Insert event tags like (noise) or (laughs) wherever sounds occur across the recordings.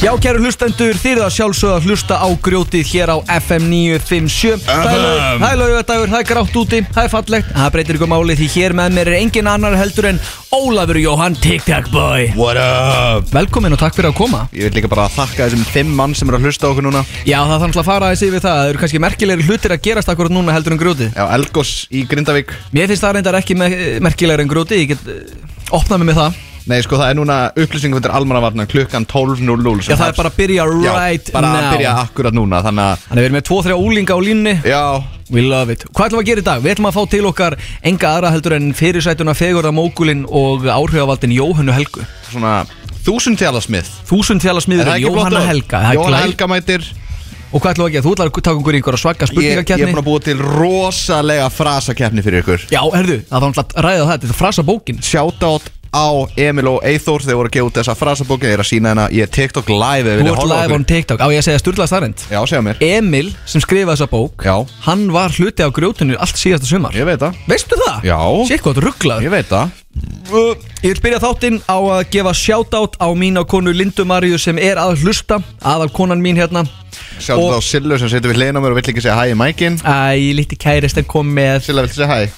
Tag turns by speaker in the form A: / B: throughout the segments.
A: Já, kæru hlustendur, þið er að sjálfsögða að hlusta á grjótið hér á FM 957 Það er laug- það er laugardagur, það er grátt úti, það er fallegt Það breytir ykkur máli því hér með mér er engin annar heldur en Ólafur Jóhann TikTok Boy
B: What up?
A: Velkomin og takk fyrir að koma
B: Ég vil líka bara þakka þessum fimm mann sem eru að hlusta á okkur núna
A: Já, það þarf náttúrulega að fara aðeins yfir það Það eru kannski merkilegri hlutir að gerast akkurat núna heldur en grjótið
B: Já, Elgos í Grindavík
A: Mér finnst það reyndar ekki me- merkilegri en grjótið Ég get eh, opnað mig með það
B: Nei, sko, það er núna upplýsingum fyrir almannavarna klukkan 12.00
A: Já, það er bara að byrja right
B: Já, bara að
A: now
B: byrja akkurat núna, þannig að
A: Þannig við erum með 2-3 úlinga á línni
B: Já,
A: We love it Hvað ætlum við að gera í dag? Við ætlum að fá til okkar enga aðra heldur en fyrirsætuna Fegurða Mókulin og áhrifavaldin Jóhannu Helgu
B: svona þúsund tjala smið
A: Þúsund
B: Er
A: fjallarsmiður
B: það ekki flott
A: Jóhanna
B: orð?
A: Helga Það er
B: Jóhanna
A: glæ-
B: Helga mætir
A: Og hvað ætlum við að gera? Þú ætlar að taka okkur í einhverja svagga
B: Ég, ég er búin
A: spurningakeppni
B: að búa til rosalega frasakeppni fyrir ykkur
A: Já, herðu, það þarf náttúrulega að ræða það Þetta er frasa bókin
B: Shoutout á Emil og Eithór Þeir voru að gefa út þessa frasabókin Þeir eru að sína hérna Ég er TikTok live ef þið
A: Þú
B: viljið
A: ert
B: horfa á
A: live
B: okkur.
A: on TikTok Á ég að segja styrla starrend
B: Já, segja mér
A: Emil sem skrifaði þessa bók
B: Já.
A: Hann var hluti á grjótinu allt síðasta sumar
B: Ég veit það
A: Veistu það?
B: Já.
A: Sér hvað, rugglaður
B: Ég veit það
A: Uh, Ég vil byrja þáttinn á að gefa shoutout á mína konu Lindu Maríu sem er að hlusta, aðal konan mín hérna
B: Sjáttu
A: Og-
B: þá Sillu sem setur við hliðin á mér og vill ekki segja hæ í mækin
A: Æ, líti kærist en kom með
B: Silla vill segja hæ,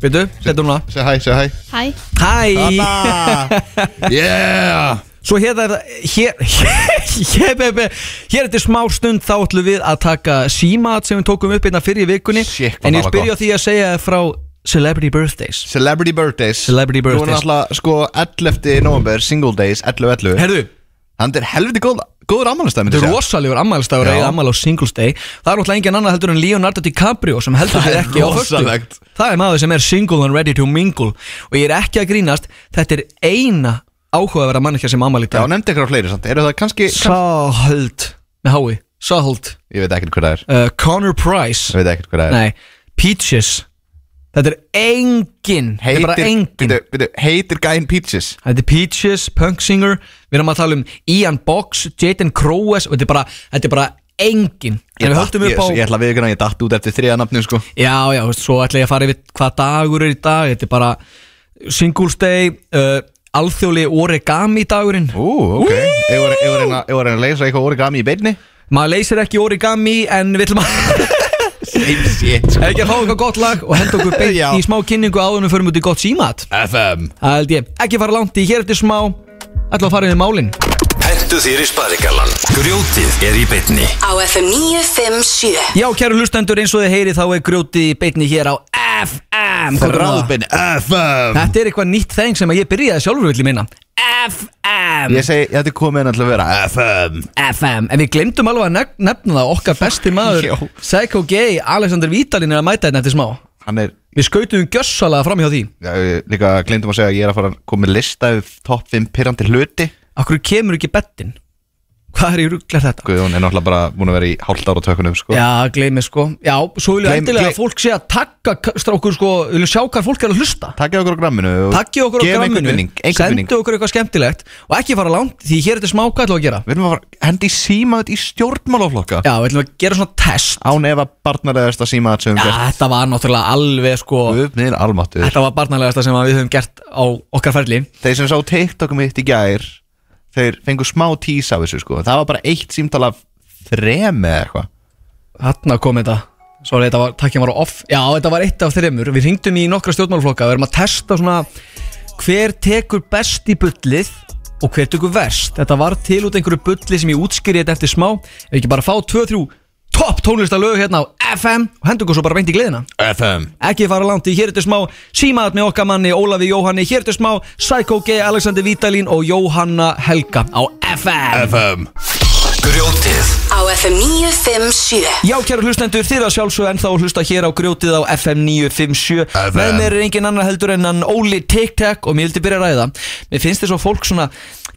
A: Veitu, settu hún að
B: segja hæ, segja hæ
C: Hæ,
A: Hæ (laughs)
B: Anna Yeah
A: Svo hérna er það Hér, (laughs) hér, hér, hér, hér eftir smá stund þá ætlum við að taka símat sem við tókum upp einna fyrir í vikunni
B: Shit, hvað það
A: En ég
B: var
A: vil byrja á því að segja þér frá Celebrity Birthdays
B: Celebrity Birthdays
A: Celebrity
B: Þú er
A: Birthdays.
B: alltaf sko 11. november, single days, 11.11
A: Herðu,
B: Þannig er helviti góð, góður ammálistæð
A: Þetta er rosalegur ammælstagur
B: Já.
A: eða ammæl á Singles Day Það er náttúrulega engin annað heldur en Leonardo DiCaprio sem heldur
B: Það
A: sér
B: er
A: ekki á
B: rosalegt.
A: föstu Það er maður sem er single and ready to mingle Og ég er ekki að grínast Þetta er eina áhugaverða manneskja sem ammæl í
B: Já,
A: dag
B: nefndi eitthvað fleiri samt Eru það kannski kann...
A: Sahöld Með hái Sahöld
B: Ég veit ekkert hvað það er
A: uh, Connor Price
B: Ég veit ekkert hvað það er
A: Nei Peaches Þetta er engin Þetta er bara engin
B: byrju, byrju, heitir gæn Peaches
A: Þetta er Peaches, Punk Singer Við erum að tala um Ian Box, Jaden Crowes og Þetta er bara, þetta er bara engin En við höldum
B: ég,
A: upp á
B: ég, ég ætla að viðkjöna, ég datt út eftir þriða nafnum sko
A: Já, já, veist, svo ætla ég að fara yfir hvað dagur er í dag Þetta er bara Singles Day uh, Alþjóli origami dagurinn
B: Ú, ok Ég var að reyna eigum við að reyna að leysa eitthvað origami í beinni
A: Maður leysir ekki origami En við ætlum að
B: Same shit sko.
A: ekki að fá eitthvað gott lag Og henda okkur beint
B: Já.
A: í smá kynningu áðunum Förum út í gott símat
B: FM
A: Það held ég ekki fara langt í hér eftir smá Ætla að fara yfir málin
D: Hentu þér í sparigallan Grjótið er í bytni
E: á FM 957
A: Já, kæru hlustendur, eins og þið heyri þá er grjóti í beinni hér á FM Hvað er það?
B: Ráðbinn FM
A: Þetta er eitthvað nýtt þeng sem að ég byrjaði sjálfur vill í minna FM
B: Ég segi, þetta er komið inn alltaf að vera FM
A: FM En við glemdum alveg að nef- nefna það Okkar besti
B: (laughs)
A: maður
B: Já.
A: Psycho Gay Alexander Vítalin er að mæta þetta eftir smá
B: Hann er,
A: Við skautum gjössalega fram hjá því
B: já, ég líka glindum að segja að ég er að fara að koma með lista yfir topp 5 pyrrandi hluti
A: Akkur kemur ekki bettin Hvað er í rugglar þetta?
B: Guðjón er náttúrulega bara búin að vera í hálft ára tökunum sko.
A: Já, gleymi sko Já, svo viljum við
B: Gleym-
A: endilega
B: gleym-
A: að fólk sé að takka k- strákur sko Við viljum sjá hvað fólk er að hlusta
B: Takkja okkur á gramminu og
A: Takkið okkur á
B: gefum einhvern
A: gramminu
B: vinning, einhvern vinning.
A: Sendu okkur eitthvað skemmtilegt Og ekki fara langt Því hér er þetta smá hvað ætlum við að gera
B: Við erum að fara að hendi símaðið í stjórnmálaflokka
A: Já, við ætlum að gera svona test
B: Án ef að barnalegast að símaðið sem
A: Já,
B: við gert
A: þetta var náttúrulega alveg sko
B: Guðnir almattur
A: Þetta var barnalegasta sem að við höfum gert á okkar ferli
B: Þeir sem sá TikTok mitt í gær Þeir fengu smá tís af þessu sko Það var bara eitt símtala þrem eða eitthvað
A: Þarna kom þetta Sorry, þetta var, takkin var á off Já, þetta var eitt af þreymur Við hringdum í nokkra stjórnmálflokka Við erum að testa svona Hver tekur best í bullið Og hver tekur verst Þetta var til út einhverju bulli sem ég útskýri þetta eftir smá Ef ekki bara fá 2-3 topp tónlistalög hérna á FM Og hendur okkur svo bara veint í gleðina
B: FM
A: Ekki fara langt í hér eftir smá Símaðat með okkar manni Ólafi Jóhanni Hér eftir smá Psycho G, Alexander Vítalín og Jóhanna Helga Á FM
B: FM
D: Grjótið
E: á FM 957
A: Já, kæru hlustendur, þið að sjálfsögðu ennþá að hlusta hér á grjótið á FM 957
B: FM.
A: Með mér er engin annar heldur en hann Óli TikTok og mér vildi byrja að ræða Mér finnst þess að fólk svona,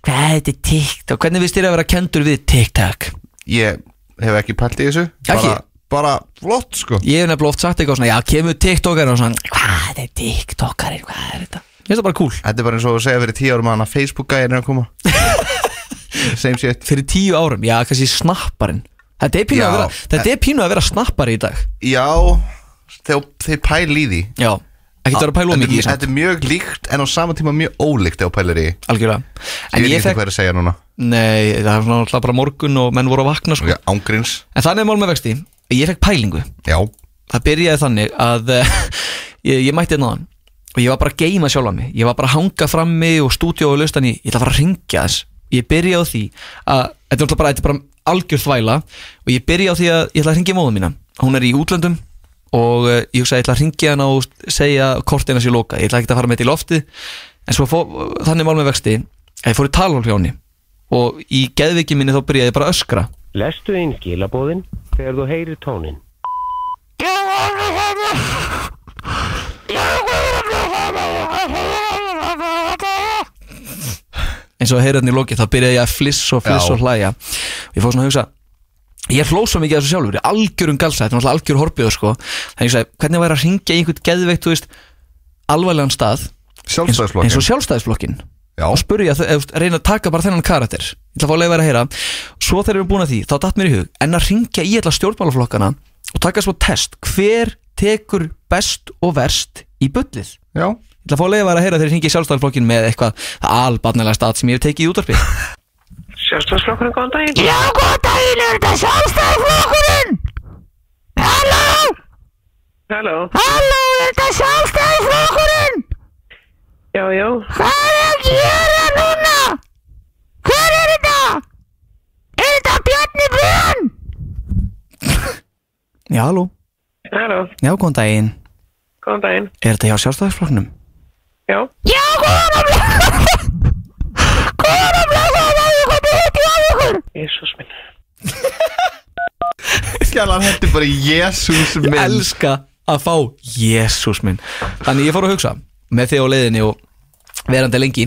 A: hvað er þetta TikTok? Hvernig finnst þér að vera kendur við TikTok?
B: Ég hef ekki pælt í þessu
A: Ekki?
B: Bara, bara flott sko
A: Ég hef nefnilega oft sagt eitthvað svona, já, kemur TikTokarinn og svona, hvað er TikTokarinn, hvað er þetta? Mér finnst það bara cool
B: Þetta er bara eins og að segja fyrir tíu árum að hann að Facebook gæðin er að
A: (laughs)
B: koma Same shit
A: Fyrir tíu árum, já, kannski snapparinn Þetta er pínu,
B: Já.
A: að vera, þetta er pínu að vera snappari í dag
B: Já, þeir, þeir pæl í því
A: Já Ekki það að pæla of mikið í
B: Þetta
A: þessu
B: er mjög líkt en á sama tíma mjög ólíkt ef þú pælir í
A: Algjörlega
B: Ég
A: En
B: veit
A: ég
B: ekki
A: fekk
B: hvað er að segja núna
A: Nei, það var svona alltaf bara morgun og menn voru að vakna sko
B: Já, Ángrins
A: En þannig er mál með vexti Ég fekk pælingu
B: Já,
A: Það byrjaði þannig að eh, (laughs) ég, ég mætti hérna áðan Og ég var bara að geima sjálfa mig Ég var bara að hanga frammi og stúdíu og laustan í Ég ætla að fara að ringja þess Ég byrjaði á því að Þetta er náttúrulega bara, þetta er bara algjör þvæla Og ég byrjaði á því að ég ætla að ringja móðum mína Hún er í útlöndum Og eh, ég hugsaði ég ætla að ringja hana og segja kortina sér loka Ég ætla ekki að fara með þetta í lofti En svo fó, þannig mál með vexti að Ég fór í talvál hjá henni Og í geðviki minni þá byrjaði ég bara að öskra
F: Lestu inn gilabóðin þegar þú heyrir tónin.
A: eins og að heyra hérna í lokið, þá byrjaði ég að fliss og fliss
B: Já.
A: og hlæja og ég fór svona að hugsa ég hló svo mikið að þessu sjálfur, ég er algjörum galsa þetta er náttúrulega algjör horfiður sko þannig ég sagði, hvernig væri að ringja í einhvern geðveikt, þú veist alvarlegan stað eins,
B: sjálfstæðisflokkin
A: eins og sjálfstæðisflokkin
B: Já.
A: og spurja, eða reyna að taka bara þennan karakter ég ætla að fá að leiða að heyra svo þegar við erum búin að því, þá datt mér í hug en að ringja í alla stjórnmálaflokkana og taka svo test, hver tekur best og verst í bullið
B: Já,
A: Ég ætla að fá að leiða að heyra þegar ég ringi sjálfstæðarflokkin með eitthvað albarnalega stað sem ég hef tekið í útarpi
F: Sjálfstæðsflokkurinn, góðan daginn.
G: Já, góðan daginn, er þetta sjálfstæðisflokkurinn? Halló,
F: Halló.
G: halló, er þetta sjálfstæðisflokkurinn?
F: Já, já.
G: Hvað er að gera núna? Hver er þetta? Er þetta Bjarni Björn?
A: Já, halló
F: Halló.
A: Já, góðan daginn.
F: Góðan daginn.
A: Er þetta hjá sjálfstæðisflokknum?
F: Já.
G: Já, góðan að blessa. (laughs) Góðan að blessa, það er eitthvað til hitt í af ykkur.
F: Jésús minn.
B: skjælan hætti bara Jésús
A: Ég
B: minn
A: elska að fá Jésús minn. Þannig ég fór að hugsa með þig á leiðinni og verandi lengi.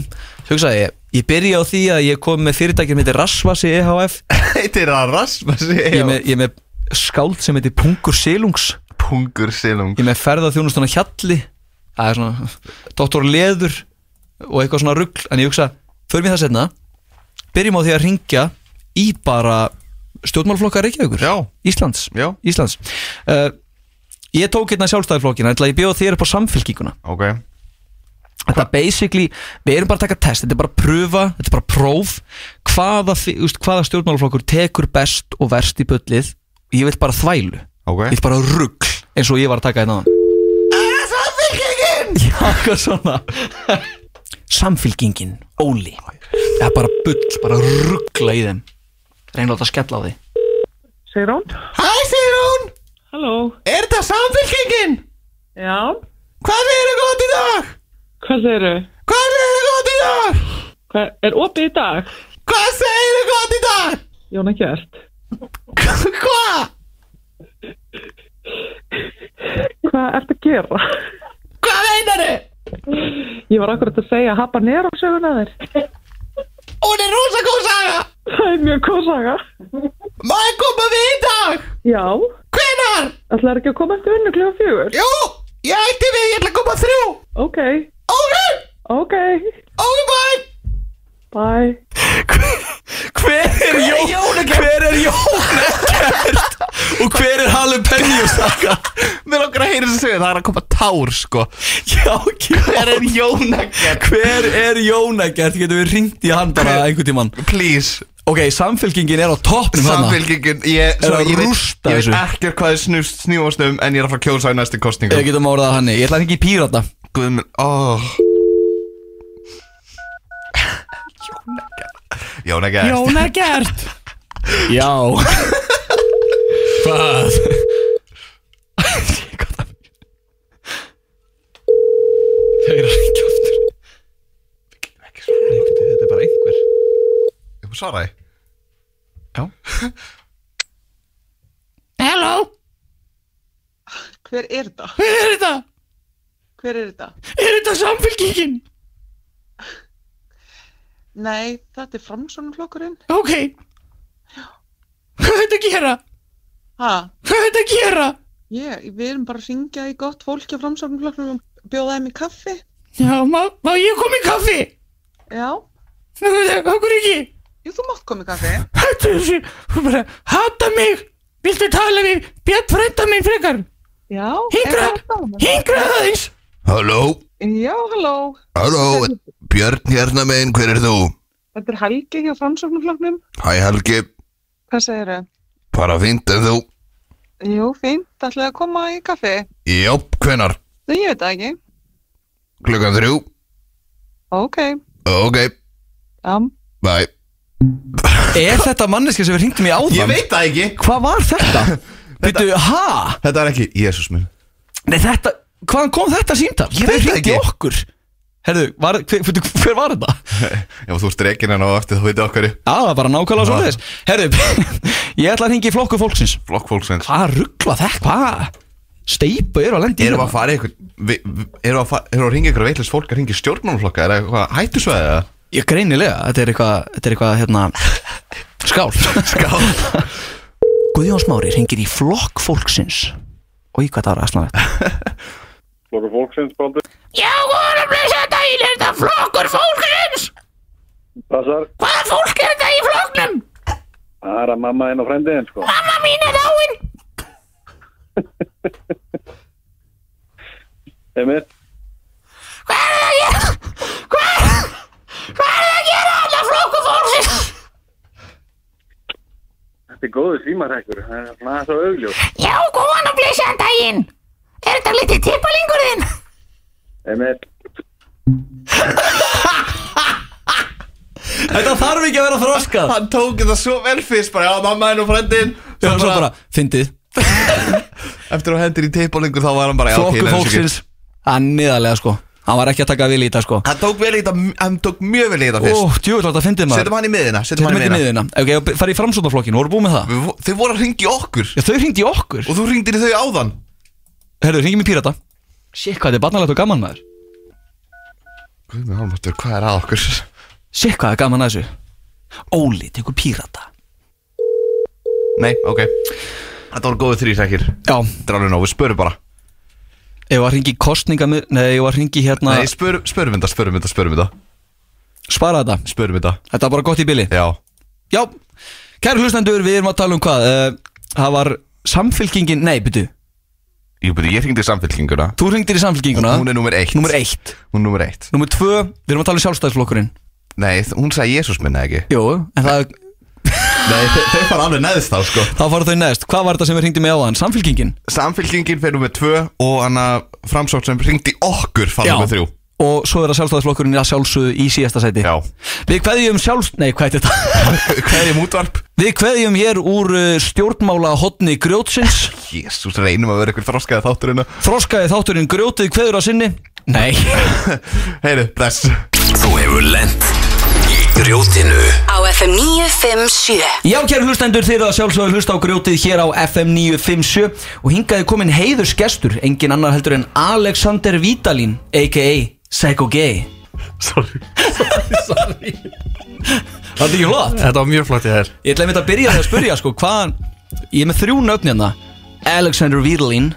A: Hugsaði ég, ég byrja á því að ég kom með fyrirtækið mitt Rasvasi EHF.
B: Þetta er að raspa
A: Ég
B: sig
A: er með, ég er með skáld sem heitir Pungur Silungs.
B: Pungur silung
A: Ég er með ferðaþjónustuna Hjalli. Það er svona, doktor Leður og eitthvað svona rugl. En ég hugsa, förum við það setna. Byrjum á því að ringja í bara stjórnmálflokka Reykjavíkur.
B: Já.
A: Íslands.
B: Já.
A: Íslands uh, Ég tók hérna sjálfstæðiflokkina ætla að ég bjóða þér upp á samfélkinguna
B: Ok,
A: Þetta er basically, við erum bara að taka test Þetta er bara pröfa, þetta er bara próf Hvaða, fi- þú veist, hvaða stjórnmálaflokkur tekur best og verst í bullið Ég vil bara þvælu
B: ok
A: Ég vil bara rugl eins og ég var að taka hérna áðan. (laughs) Já, eitthvað svona Samfélkingin, Óli Það er bara bull, bara ruggla í þeim Reynlátt að skella á því
F: Segir hún?
B: Hæ, segir hún
F: Halló.
B: Er þetta samfélkingin?
F: Já.
B: Hvað segir það gott í dag?
F: Hvað segir þau?
B: Hvað segir það gott í dag?
F: Hvað, er opið í dag?
B: Hvað segir það gott í dag?
F: Jóna Gjert.
B: Hvað?
F: Hvað ertu að gera?
B: Hvað meinar þau?
F: Ég var akkurat að segja hapa nýra á söguna þér.
B: Hún er rosa góð saga
F: Það er mjög kosaga.
B: Má ég koma við í dag?
F: Já.
B: Hvenar?
F: Ætlar ekki að koma eftir vinnu kljóðan fjögur?
B: Jú, ég ætti við, ég ætla að koma þrjú
F: Ok.
B: Ok,
F: Ok.
B: ok bye
F: Bye.
A: Hver er Jón Hver er Jón Ekkert Og hver er Jalapeno Saka
B: Mér langar að heyra þess að segja, það er að koma tár sko
A: Já, ekki
B: Hver er Jónakert?
A: Hver er Jón Ekkert Getum við ringt í hann bara einhvern tímann
B: Please,
A: Ok, samfélkingin er á toppnum hana
B: samfélkingin Ég,
A: Er
B: svo
A: að
B: ég, veit,
A: rústa
B: ég veit
A: þessu.
B: ekkert hvað er snúst, snúast um En ég er að fara að kjósa í næstu kostningum
A: Ég getum orðað hann Ég ætla að hringa í pírata
B: Guðmund oh. Jónakert Jónakert
A: Ekkert Já Hvað Þau eru að ringja aftur Nei, bíddu, Þetta er bara einhver
B: Ég svaraði
G: Halló,
F: Hver er þetta?
G: hver er þetta?
F: Hver er þetta?
G: Er þetta samfélkingin?
F: Nei, þetta er framsónumflokkurinn.
G: Ok. Hvað er þetta að gera?
F: Ha?
G: Hvað er þetta að gera?
F: Ég, við erum bara að ringja í gott fólki á framsóknarflokknum og bjóða þeim í kaffi.
G: Já, má, má ég koma í kaffi?
F: Já,
G: Okkur ekki?
F: jú, þú mátt koma í kaffi.
G: Hættu þessu, þú bara hata mig. Viltu tala við Björn frænda minn frekar?
F: Já,
G: Hingra, hingra aðeins.
H: Halló,
F: Já, halló.
H: halló, Björn hérna megin, hver er þú?
F: Þetta er Helgi hjá framsóknarflokknum.
H: Hæ Helgi,
F: Hvað segir þau?
H: bara fínt en þú?
F: Jú, fínt. Ætlaðu að koma í kaffi?
H: Jáp, hvenar?
F: Nei, ég veit það ekki.
H: Klukkan þrjú?
F: Ok.
H: Ok,
F: Já.
H: bye.
A: Er þetta manneski sem við hringtum í áðan?
B: veit það ekki
A: Hvað var (laughs) þetta? Býtu, ha?
B: Þetta er ekki, jésus minn
A: Nei, þetta, hvaðan kom þetta síntal?
B: Ég veit það
A: hringdu í
B: ekki.
A: okkur Herðu, var, hver, fyrir, hver var þetta?
B: Ef þú ert reikin en á eftir þú veit okkar í
A: Já, það var bara nákvæmlega svo leiðis Herðu, (laughs) ég ætla að hringi í flokku fólksins
B: flokkfólksins
A: Hvað ruggla þetta? Hvað? Steipu eru að lendi hérna?
B: Erum við að fara í eitthvað vi- vi- Erum við að, fara- erum við að ringa ykkur veitlust fólk að ringa stjórnmálflokka eða eitthvað hættusvæði eða
A: Ég greinilega, þetta er eitthvað, þetta er eitthvað, hérna (laughs) Skál Skál Guðjón Smári hringir í flokk fólksins Og í hvað það var aðsnaðið
I: Flokkur fólksins, Baldur.
G: Já, góðan að blessa daginn, er þetta flokkur fólksins?
I: Passar,
G: Hvaða fólk er þetta í flokknum?
I: það er að mamma einn og frendiðin, sko.
G: Mamma mín er dáin.
I: Emil,
G: Hvað er það að gera? Hvað, hvað er það að gera alla flokkur fólksins?
I: þetta er góðu símarhekkur. Það er svona aðeins á augljós.
G: Já, góðan að blessa daginn, er þetta litið tippalingur þinn?
I: Emil,
A: Þetta þarf ekki að vera þroskað
B: Hann tók þetta svo vel fyrst bara, já mamma henn og frendin
A: Já, svo bara, fyndið
B: Eftir að hendur í teipalingu þá var hann bara já, ok,
A: Flokku
B: nei,
A: fólksins Það er niðarlega sko Hann var ekki að taka vil í þetta sko
B: þessu ekki. Hann tók vel í þetta, hann tók mjög vel í þetta fyrst
A: Ó, djúvill að fyndið maður
B: Settum hann í miðina, settum
A: Setjum
B: Oh, hann í
A: ekki
B: miðina,
A: miðina Ok, farið í framsóknarflokkinu, voru búið með það
B: Við vo- Þau voru að ringja okkur
A: Já, þau hringdi í okkur
B: og þú ringdir í þau áðan
A: Herðu, hringjum í pírata Sikk hvað þetta er barnalegt og gaman maður
B: Guð minn almáttur, hvað er að okkur?
A: Sikk hvað er gaman að þessu Óli, tekur pírata
B: Nei, ok Þetta voru góðu þrýrækir Þetta
A: Já,
B: er alveg nóg, við spörum bara
A: ég var að hringi kostninga Nei, ég var að hringi hérna
B: Nei, spörum, spörum þetta, spörum þetta, spörum þetta
A: Spara þetta
B: Spörum þetta,
A: Þetta var bara gott í bili
B: já
A: Já, kæru hlustendur, við erum að tala um hvað Eh, Það var samfylkingin Nei, byrju,
B: Ég, byrja, ég ringdi í samfélkinguna
A: þú hringdir í samfylkinguna
B: Hún er Ah. númer eitt
A: Númer eitt
B: Hún er númer eitt
A: Númer tvö, við erum að tala um sjálfstæðisflokkurinn
B: Nei, þ- hún sagði Jésús minna ekki
A: Jú, en það,
B: Nei, þe- þeir fara alveg neðst þá sko
A: þá fara þau neðst Hvað var þetta sem við hringdi með á þann? Samfylkingin?
B: Samfylkingin fer númer tvö og hann að framsókn sem ringdi okkur fara númer þrjú
A: Og svo er það sjálfstæðisflokkurinn að sjálfsögðu í síðasta sæti
B: Já
A: Við kveðjum sjálf... Nei, hvað er þetta?
B: (laughs) Hverjum útvarp?
A: Við kveðjum hér úr uh, stjórnmála hotni grjótsins
B: Jésús, reynum að vera ykkur þroskaði þáttur hérna
A: Þroskaði þátturinn grjótið kveður að sinni Nei (laughs)
B: Heyri, bless
J: Þú hefur lent í grjótinu
E: á FM 957
A: Já, kæru hlustendur, þeir eru að sjálfsögðu að hlusta á grjótið hér á FM 957 og hingaði komin heiðurs gestur, engin annar heldur en Alexander Vítalín, a.k.a. Psycho Gay Sorry Sorry, sorry Það er ekki hlott
K: Þetta var mjög flott í þér
A: Ég ætla einmitt að byrja því að spyrja sko hvaðan Ég er með þrjú nöfn hérna Alexander Vítalín,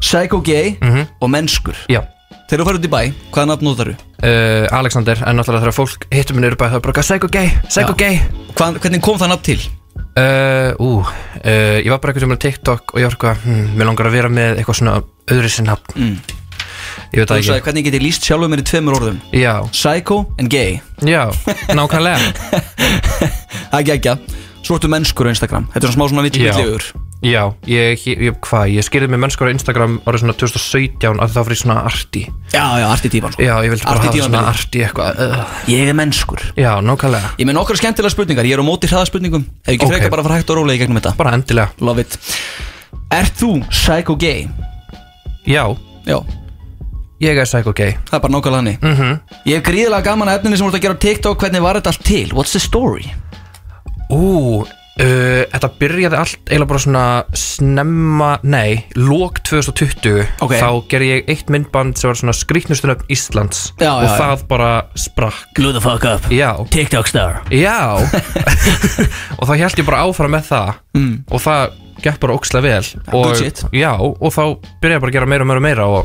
A: Psycho Gay og Mennskur
K: Mhm. Já
A: Þegar þú færðu út í bæ, hvaða nafn notar þú?
K: uh, Alexander, en náttúrulega þegar fólk hittum minn yfirbæð Það er bara eitthvað psycho gay, psycho
A: Já.
K: gay
A: Hvaðan- Hvernig kom það nafn til?
K: uh, Ú, uh, ég var bara eitthvað sem er TikTok Og ég var eitthvað, hm, mér langar að vera með eitthvað svona öðru sinn nafn mm.
A: Þú
K: Ég veit það
A: sagði
K: ekki
A: hvernig get ég líst sjálfur mér í tveimur orðum
K: Já,
A: Psycho and gay (laughs)
K: já, nákvæmlega
A: Það er geggja Svo ertu mennskur á Instagram Þetta er svona smá svona vill
K: Já.
A: villiður
K: Já, ég, ég hvað, ég skýrði með mennskur á Instagram árið svona 2017 að það fyrir svona arti
A: Já, já, arti típan sko
K: Já, ég vildi bara
A: Arti
K: hafa svona
A: tímabilið.
K: arti eitthvað uh.
A: Ég er mennskur
K: Já, nákvæmlega,
A: Ég með nokkra skemmtilega spurningar Ég er á móti hraðaspurningum Ef ekki
K: Ok.
A: frekar bara að fara hægt og rólega í gegnum þetta
K: bara endilega
A: Love it Ert þú psycho gay?
K: Já,
A: Já,
K: ég er psycho gay
A: það er bara nákvæmlega hannig mm -hmm. Ég hef gríðilega gaman að efninu sem voru að gera á TikTok Hvernig var þetta allt til? What's the story?
K: Ú, uh, þetta byrjaði allt eiginlega bara svona snemma, nei, lók 2020
A: Ok.
K: Þá gerði ég eitt myndband sem var svona skrýtnustunöfn Íslands
A: Já,
K: Og
A: já, já.
K: það bara sprakk
A: Glue the fuck up
K: Já,
A: TikTok star (laughs)
K: já (laughs) Og þá held ég bara áfram með það mm. Og það gekk bara ókslega vel og,
A: good shit.
K: Já, og þá byrjaði ég bara að gera meira og meira og meira Og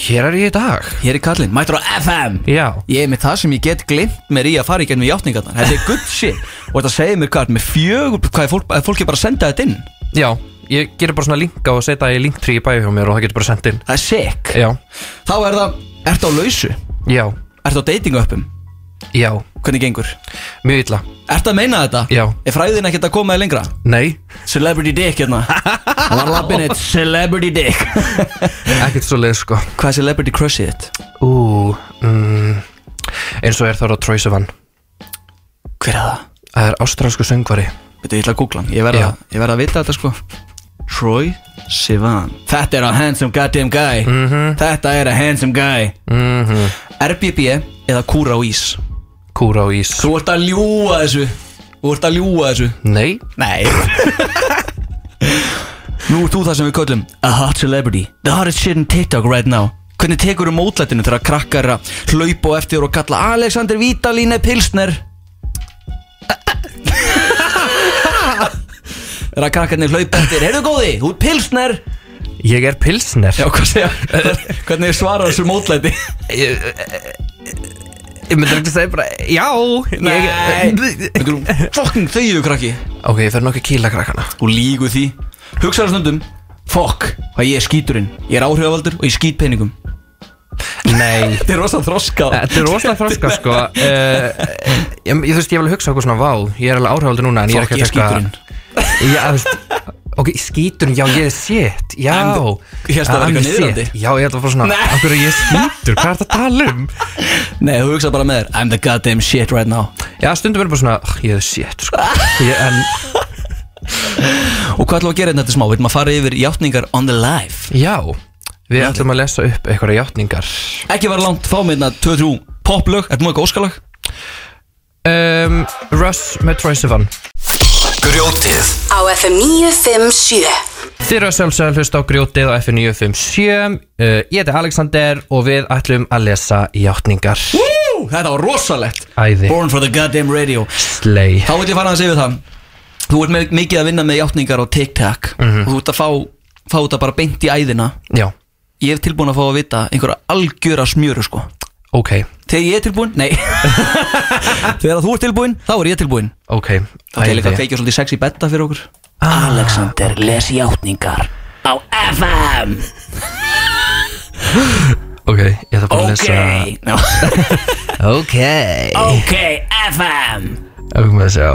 K: hér er ég í dag
A: Hér er kallinn Mættur á FM
K: Já,
A: Ég er með það sem ég get glimt mér í að fara í gennum játningarnar Þetta er good shit Og þetta segir mér hvað er með fjögur Hvað er fólk, að fólk er bara að senda þetta inn
K: já, ég gerir bara svona linka og setja í linktrí í bæði hjá mér og það getur bara sendt inn
A: Það er sick
K: Já,
A: Þá er það, ertu á lausu?
K: já,
A: Ertu á dating uppum?
K: já,
A: Hvernig gengur?
K: mjög illa
A: Ertu að meina þetta?
K: Já.
A: Er fræðin ekkert að koma þér lengra?
K: Nei,
A: Celebrity dick hérna Það var lappin eitt Celebrity dick
K: ekkert svo leið sko
A: Hvað er celebrity crushið þitt?
K: Ú, mm, eins og er það á Troy Sivan
A: Hver er það?
K: Það er ástralsku söngvari
A: Veitu, ég ætla að googla hann Ég verða
K: Já.
A: ég verð að vita þetta sko Troy Sivan Þetta er a handsome goddamn guy -hmm. Þetta er a handsome guy
K: mm
A: RBB E eða kúra á ís
K: Kúra á ís
A: Þú ert að ljúa þessu Þú ert að ljúa þessu
K: Nei,
A: Nei (laughs) Nú ert þú það sem við köllum A hot celebrity The hottest shit on TikTok right now Hvernig tekur þú mótlætinu þegar krakkar er að hlaupa á eftir þér og kalla Alexander Vítalíne Pilsner (laughs) Þegar að krakkarnir hlaupa eftir Heyrðu góði, þú ert Pilsner
K: ég er pilsner
A: Já, hvað segja (laughs) Hvernig svarar þessu mótlæti
K: Ég, eh, ég myndi ekki segja bara Já ég,
A: Fucking þegiðu krakki
K: Ok, ég fer nokkuð kýla krakkana
A: Þú lígu því Hugsaðu stundum Fuck, hvað ég er skíturinn Ég er áhrifavaldur og ég skít peningum
K: Nei
A: (laughs) Þetta er rosa þroskað
K: Þetta er rosalega þroska (laughs) sko uh, ég, ég, Þú veist, ég vil hugsa okkur svona vá Ég er alveg áhrifaldur núna en ég er
A: Fokk,
K: ekki
A: ég
K: að taka-
A: skíturinn
K: Já, þú veist Ok, skíturinn, já, ég er shit Já
A: En- Ég hélt að það væri
K: I'm
A: eitthvað
K: shit.
A: niðrandi.
K: Já, ég held að fara svona
A: Nei.
K: Akkur er ég skítur, hvað er það að tala um?
A: Nei, þú hugsa bara með þér I'm the goddamn shit right now
K: Já, stundum verður bara svona "Ugh, Ég er shit sko ég, En
A: Og hvað ætlum við að gera hérna þetta smá? Við ætlum að fara yfir játningar on the life
K: já, við ætlum að lesa upp einhverja játningar
A: Ekki var langt, fá meðna 2-3 poplög Ertu nú eitthvað óskalag?
K: um, Russ með Troy Sivan
H: Grjótið
E: á FM 957
K: Þið eru að sjálfsögða að hlusta á grjótið á F957 uh, Ég heiti Alexander og við ætlum að lesa játningar
A: Woo! Þetta var rosalegt
K: Æði,
A: Born for the goddamn radio
K: slei
A: Þá vil ég fara að segja það Þú ert með, mikið að vinna með játningar og TikTok
K: Mhm.
A: Og þú ert að fá, fá þetta bara beint í æðina
K: Já,
A: Ég hef tilbúin að fá að vita einhverja algjöra smjöru sko
K: ok,
A: Þegar ég er tilbúin, nei Þegar þú ert tilbúin, þá er ég tilbúin
K: ok
A: Það er líka að
K: æði.
A: kveikja svolítið sexy betta fyrir okkur Alexander les játningar á FM
K: Ok, ég ætla bara
A: Ok
K: að lesa
A: no.
K: Ok
A: Ok FM
K: Ok, maður að segja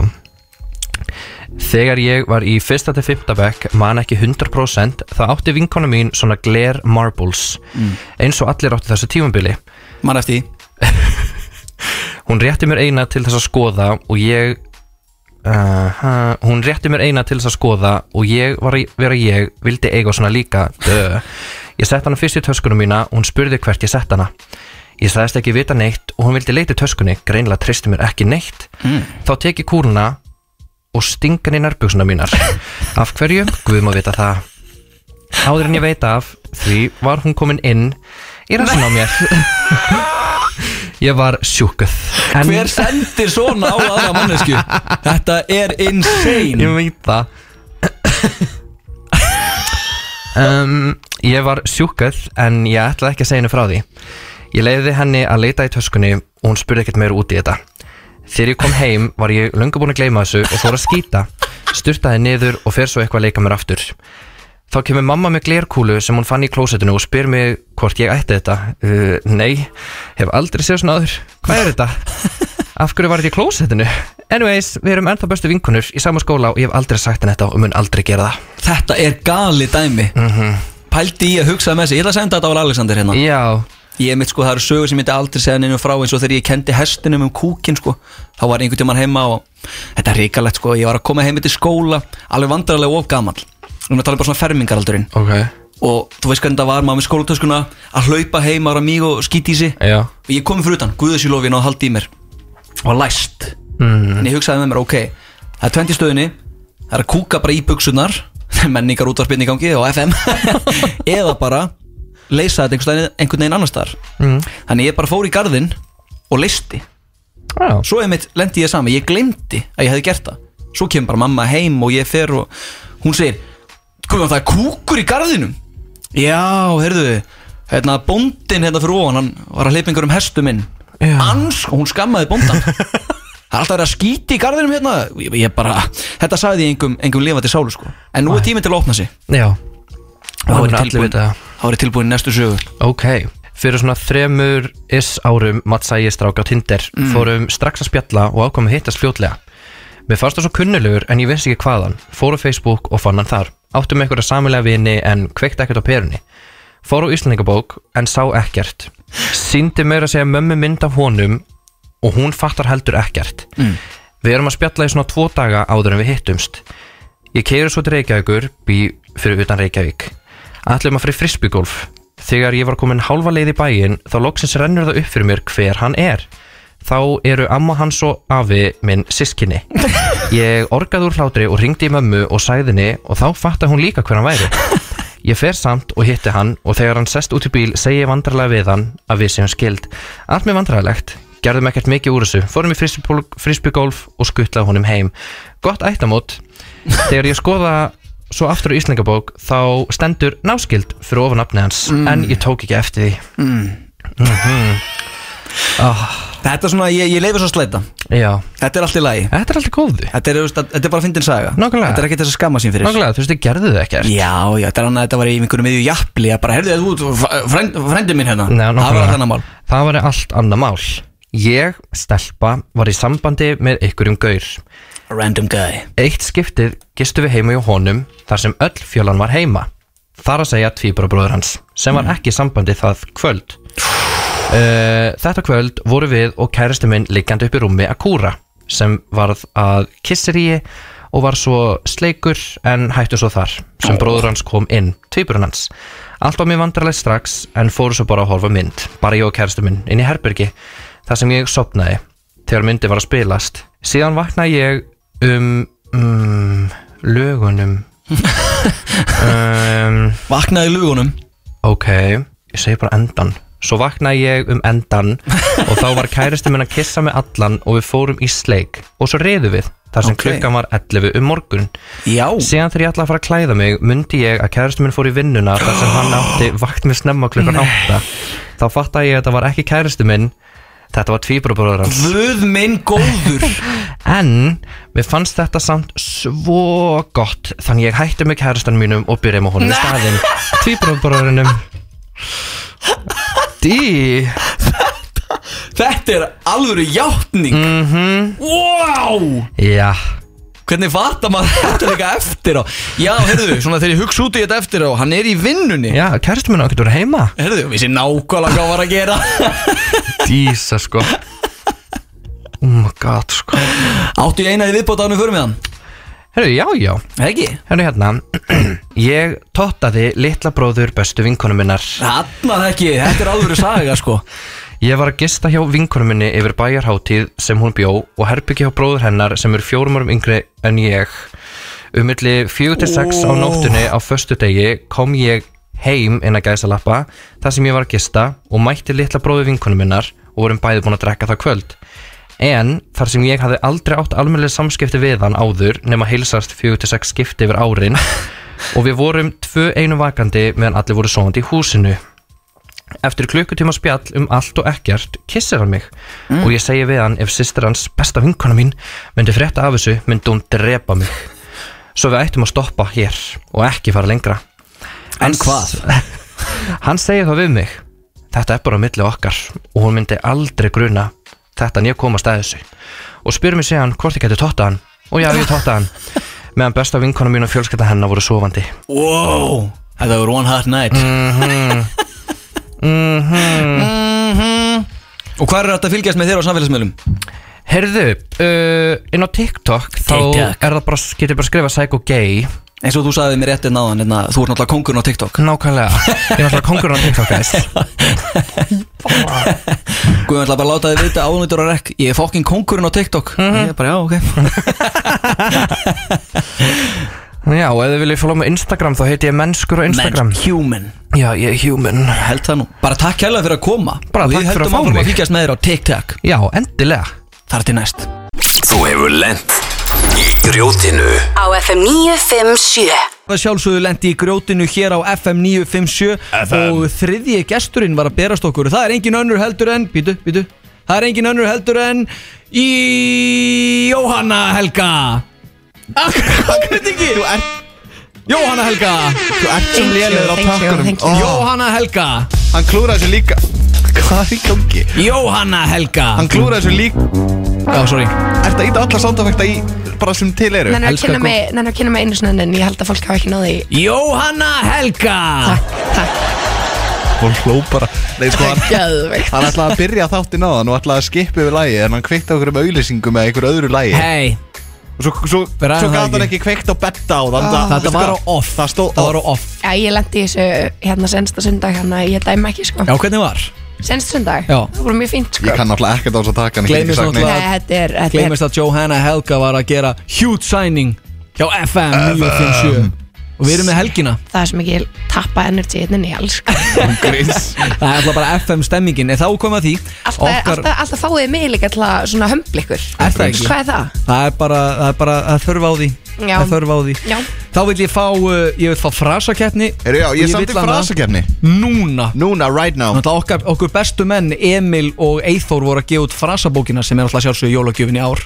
K: Þegar ég var í fyrsta til fymta bekk man ekki 100% það átti vinkona mín svona glare marbles eins og allir átti þessu tímabili
A: Mann eftir því.
K: Hún rétti mér eina til þess að skoða og ég uh, Hún rétti mér eina til þess að skoða og ég var að vera ég vildi eiga svona líka Duh. Ég sett hana fyrst í töskunum mína og hún spurði hvert ég sett hana Ég sagðist ekki vita neitt og hún vildi leita í töskunni greinlega treysti mér ekki neitt Þá tek ég kúruna og sting hann í nærbuksuna mínar Af hverju? Guð má vita það Áður en ég veit af því var hún komin inn í rassin á mér Ég var sjúkuð en,
A: Hver sendir svona á aðra mannesku? Þetta er insane
K: Ég veit það um, Ég var sjúkað en ég ætlaði ekki að segja henni frá því Ég leiði henni að leita í töskunni og hún spurði ekkert meira út í þetta Þegar ég kom heim var ég löngu búin að gleyma þessu og fór að skýta Sturtaði niður og fer svo eitthvað að leika mér aftur Þá kemur mamma með glerkúlu sem hún fann í klósettinu og spyr mig hvort ég ætti þetta uh, Nei, hef aldrei séð svona aður Hvað er þetta? (laughs) Af hverju var þetta í klósettinu? Anyways, við erum ennþá bestu vinkunur í sama skóla og ég hef aldrei sagt henni þetta og mun aldrei gera það
A: Þetta er gali dæmi Pældi ég að hugsa með þessi Ég ætla að senda þetta á Alexander hérna
K: Já,
A: Ég mitt sko, það eru sögur sem ég myndi aldrei segja nefnum frá eins og þegar ég kendi hestinum um kúkin sko, þá var einhvern tímann heima og þetta er ríkalegt sko, ég var að koma heim til skóla alveg vandrarlega og of gamall Núna tala bara svona fermingaraldurinn
K: ok
A: og þú veist hvernig það var maður með skólatöskuna að hlaupa heim ára mig og skýti í sig
K: Já
A: og ég komið fyrir utan, guðusilofin og haldi í mér og læst
K: mm.
A: en ég hugsaði með mér, ok, það er 20 stöðinni það er að kúka bara í (laughs) buksunar menningar útvarpinni í gangi og FM (laughs) eða bara leysa þetta einhvern veginn- einhvern veginn annars staðar
K: Mm.
A: þannig ég bara fór í garðinn og listi
K: Já,
A: svo einmitt lendi ég saman, ég glemdi að ég hefði gert það svo kemur bara mamma heim og ég fer og hún segir Guðjón það er kúkur í garðinum já, heyrðu hérna bóndin hérna fyrir ofan hann var að hleypa einhverjum hestum inn
K: Já. (laughs)
A: hans og hún skammaði bóndan Það er alltaf verið að skýti í garðinum hérna Ég, ég bara, þetta sagði ég engum, engum lifandi sálu sko En nú er tíminn til að opna sig
K: Já,
A: Þá er ég
K: Núna allir
A: tilbúinn-
K: vita það.
A: þá er ég tilbúin í næstu sögu
K: ok Fyrir svona þremur is árum Matsa ég strák á Tinder Fórum strax að spjalla og ákvæmum hittast fljótlega Mér fannst það svo kunnulegur en ég vissi ekki hvaðan Fór á Facebook og fann hann þar Áttum einhverja samilega vini en kveikti ekkert á perunni Fór á Íslandingabók en sá ekkert Sýndi meira að segja mömmu mynd af honum Og hún fattar heldur ekkert Við erum að spjalla í svona tvo daga áður en við hittumst Ég keiri svo til Reykjavíkur, bý fyrir utan Reykjavík. Ætlum að fyrir frisbygolf. Þegar ég var komin hálfa leið í bæinn, þá loksins rennur það upp fyrir mér hver hann er. Þá eru amma hans og afi minn sískinni. Ég orgaði úr hlátri og ringdi í mömmu og sæðinni og þá fatta hún líka hver hann væri. Ég fer samt og hitti hann og þegar hann sest út í bíl segi ég vandrarlega við hann að við séum skild. Allt mér vandrarlegt, gerðum ekkert mikið úr þessu, fórum í frisbygolf- frisbygolf og skuttlaði honum heim. Gott ættamót, þegar ég skoða svo aftur á Íslingabók þá stendur náskild fyrir ofan nafni hans en ég tók ekki eftir því.
A: Þetta er svona, ég, ég leifi svo að sleita
K: Já,
A: Þetta er allt í lagi
K: þetta er alltaf góðu.
A: Þetta er, þú veist, að- þetta er bara fyndin saga
K: Nákvæmlega.
A: Þetta er ekki þess að skamma sín fyrir
K: Nákvæmlega, þú veist, ég gerði það ekkert.
A: Já, já, þetta er annað að þetta var í einhverjum miðju jafnli að bara, herðu þú, ert frænd, frændið minn hérna
K: Nei,
A: Það var
K: nákvæmlega.
A: þannig mál
K: Það var allt annað mál. Ég, stelpa, var í sambandi með einhverjum gaur.
A: Random guy
K: Eitt skiptið gistu við heima hjá honum þar sem öll fjölan var heima. Þar að segja tvíburabróður hans, sem var ekki í sambandi það kvöld. Uh, þetta kvöld voru við og kæristi minn liggjandi upp í rúmi að kúra, sem varð að kisseríi og var svo sleikur en hættu svo þar, sem bróður hans kom inn, tvíburinn hans. Allt var mér vandrarlega strax en fóru svo bara að horfa á mynd, bara ég og kæristi minn, inn í herbergi, þar sem ég sopnaði, þegar myndi var að spilast. Síðan vaknaði ég um, um lögunum. um,
A: Vaknaði í lugunum
K: Ok, ég segi bara endan Svo vaknaði ég um endan og þá var kæristi minn að kissa með allan og við fórum í sleik og svo reyðu við þar sem
A: Ok.
K: klukkan var 11 um morgun
A: Já
K: Síðan þegar ég ætlaði að fara að klæða mig myndi ég að kæristi minn fór í vinnuna þar sem hann átti vakt með snemma klukkan 8 Þá fattaði ég að þetta var ekki kæristi minn Þetta var tvíbrúbróður hans
A: Guð minn
K: (laughs)
A: góður
K: En mér fannst þetta samt svo gott Þannig ég hætti með kærastan mínum og byrjaði með honum í staðinn Tvíbróðbróðurinnum Dí
A: Þetta er alvöru játning mm
K: Mhm.
A: -hmm. Wow
K: Já,
A: Hvernig fattar maður (laughs) þetta líka eftir á Já, heyrðu, svona þegar ég hugsa út í þetta eftir á Hann er í vinnunni
K: já, kærastan minn á getur heima
A: Heyrðu, vissi nákvæmlega hvað var að gera
K: Dísa sko Oh my god sko
A: (laughs) Áttu ég eina í viðbóta ánum fyrir með hann
K: Herru, já, já
A: Ekki?
K: Herru hérna (clears throat) Ég tottaði litla bróður bestu vinkonu minnar
A: Þarna ekki, þetta er alvöru saga sko
K: Ég var að gista hjá vinkonu minni yfir bæjarháttíð sem hún bjó og herbyggja hjá bróður hennar sem er fjórum árum yngri en ég. Um milli 4-6 á nóttunni á föstu degi kom ég heim inn að gæsa lappa þar sem ég var að gista og mætti litla bróður vinkonu minnar og vorum bæði búin að drekka það kvöld. En þar sem ég hafði aldrei átt almennileg samskipti við hann áður nema heilsast 4-6 skipti yfir árin og við vorum tvö einu vakandi meðan allir voru sofandi í húsinu. Eftir klukkutíma spjall um allt og ekkert kissir hann mig og ég segi við hann ef sýstir hans besta vinkona mín myndi frétta af þessu myndi hún drepa mig svo við ættum að stoppa hér og ekki fara lengra
A: En hvað?
K: (laughs) Hann segir þá við mig Þetta er bara á milli okkar og hún myndi aldrei gruna þetta en ég komast að þessu og spyr mig síðan hvort ég geti totta hann og já, ég totta
A: (laughs)
K: hann meðan besta vinkona mín og fjölskylda hennar voru sofandi
A: Wow Þetta var one hot night Mhm Mhm
K: Mhm.
A: Og hvað er þetta að fylgjast með þér á samfélagsmiðlum?
K: Herðu, uh, inn á TikTok þá
A: TikTok.
K: er það bara, getur bara að skrifa psycho gay
A: Eins og þú sagði mér réttið náðan, hérna, þú ert náttúrulega kongurinn á
K: (laughs)
A: TikTok
K: Nákvæmlega, ég er alltaf kongurinn á TikTok guys
A: Guðum ætla bara að láta þið vita ánveitur að rekk Ég er fokkin kongurinn á TikTok
K: Mhm.
A: Ég er bara, já, ok
K: Já, og ef þið viljið fólá með Instagram þá heiti ég mennskur á Instagram
A: Man, human
K: Já, ég er human
A: Held það nú Bara takk hérlega fyrir að koma
K: Bara
A: Við
K: takk fyrir að
A: höldum
K: fá
A: áfram
K: mig.
A: að fylgjast með þér á TikTok
K: Já, endilega
A: Þar til næst
L: Þú hefur lent í grjótinu
E: á FM 957
H: Það sjálfsögðu lendi í grjótinu hér á FM 957 og þriðji gesturinn var að berast okkur. Það er engin önnur heldur en, býtu, býtu, það er engin önnur heldur en
A: Í Jóhanna Helga Akkurat ekki Þú ert Jóhanna Helga
B: Þú ert svo lélegur á takkunum
G: Oh.
B: Ó,
A: Jóhanna Helga
B: Hann klúraði sér líka Hvað er í gangi?
A: Jóhanna Helga
B: Hann klúraði sér líka
A: Já, sorry
B: Ert að íta alla soundeffekta í bara sem til eru
G: Nennar að
A: Elskar
G: kynna
A: gott.
G: mig, nennar að kynna mig einu svona en ég held að fólk hafa ekki náði
A: Jóhanna Helga
G: Takk, takk,
B: Hún hló bara Nei, sko, hann,
G: það er geðveikt
B: hann ætlaði að byrja þáttinn á þann og ætlaði að skipa yfir lagi en hann kveikti á okkur um auðlýsingum eða einhver öðru lagi
A: Hei
B: og svo, svo, svo
A: Bara það
B: gæti hann
A: ekki. Ah.
B: ekki kveikt á betta á þann
G: Ah.
B: það-
A: Þetta
B: veistu
A: var á
B: hvað?
A: off
B: Það stóð
A: Það var á
B: off.
A: off
G: Já, ég lendi í þessu hérna sensta sundag hann að ég dæma ekki sko
A: Já, hvernig var?
G: Sensta sundag,
A: Já.
G: það voru mjög fínt sko
B: Ég kann náttúrulega ekkert á þess að taka hann ég get
A: Gleymist
B: ekki sagt
A: náttúrulega-
B: neitt.
G: Nei, þetta er, þetta er
A: Gleimist að Jóhanna Helga var að gera huge signing hjá FM 957 og við erum með helgina
G: það sem ekki tappa energy hérna inn í alls sko.
A: Það er alltaf bara FM stemmingin En þá komum við að því
G: alltaf, alltaf, alltaf fáið mig líka til að svona hömbla ykkur
A: Er það ekki?
G: Hvað er það?
A: Það er bara, það er bara að þörfa á því
G: Já.
A: Að þörfa á því
G: Já.
A: Þá vil ég fá, uh, ég vil fá frasakeppni
B: Heyrðu, já,
A: Og
B: ég
A: vil
B: samt í
A: hana
B: frasakefni
A: Núna
B: Núna, right now
A: Þannig að okkar, okkur bestu menn Emil og Eithor voru að gefa út frasabókina sem er alltaf sjálfsög jólagjöfin í ár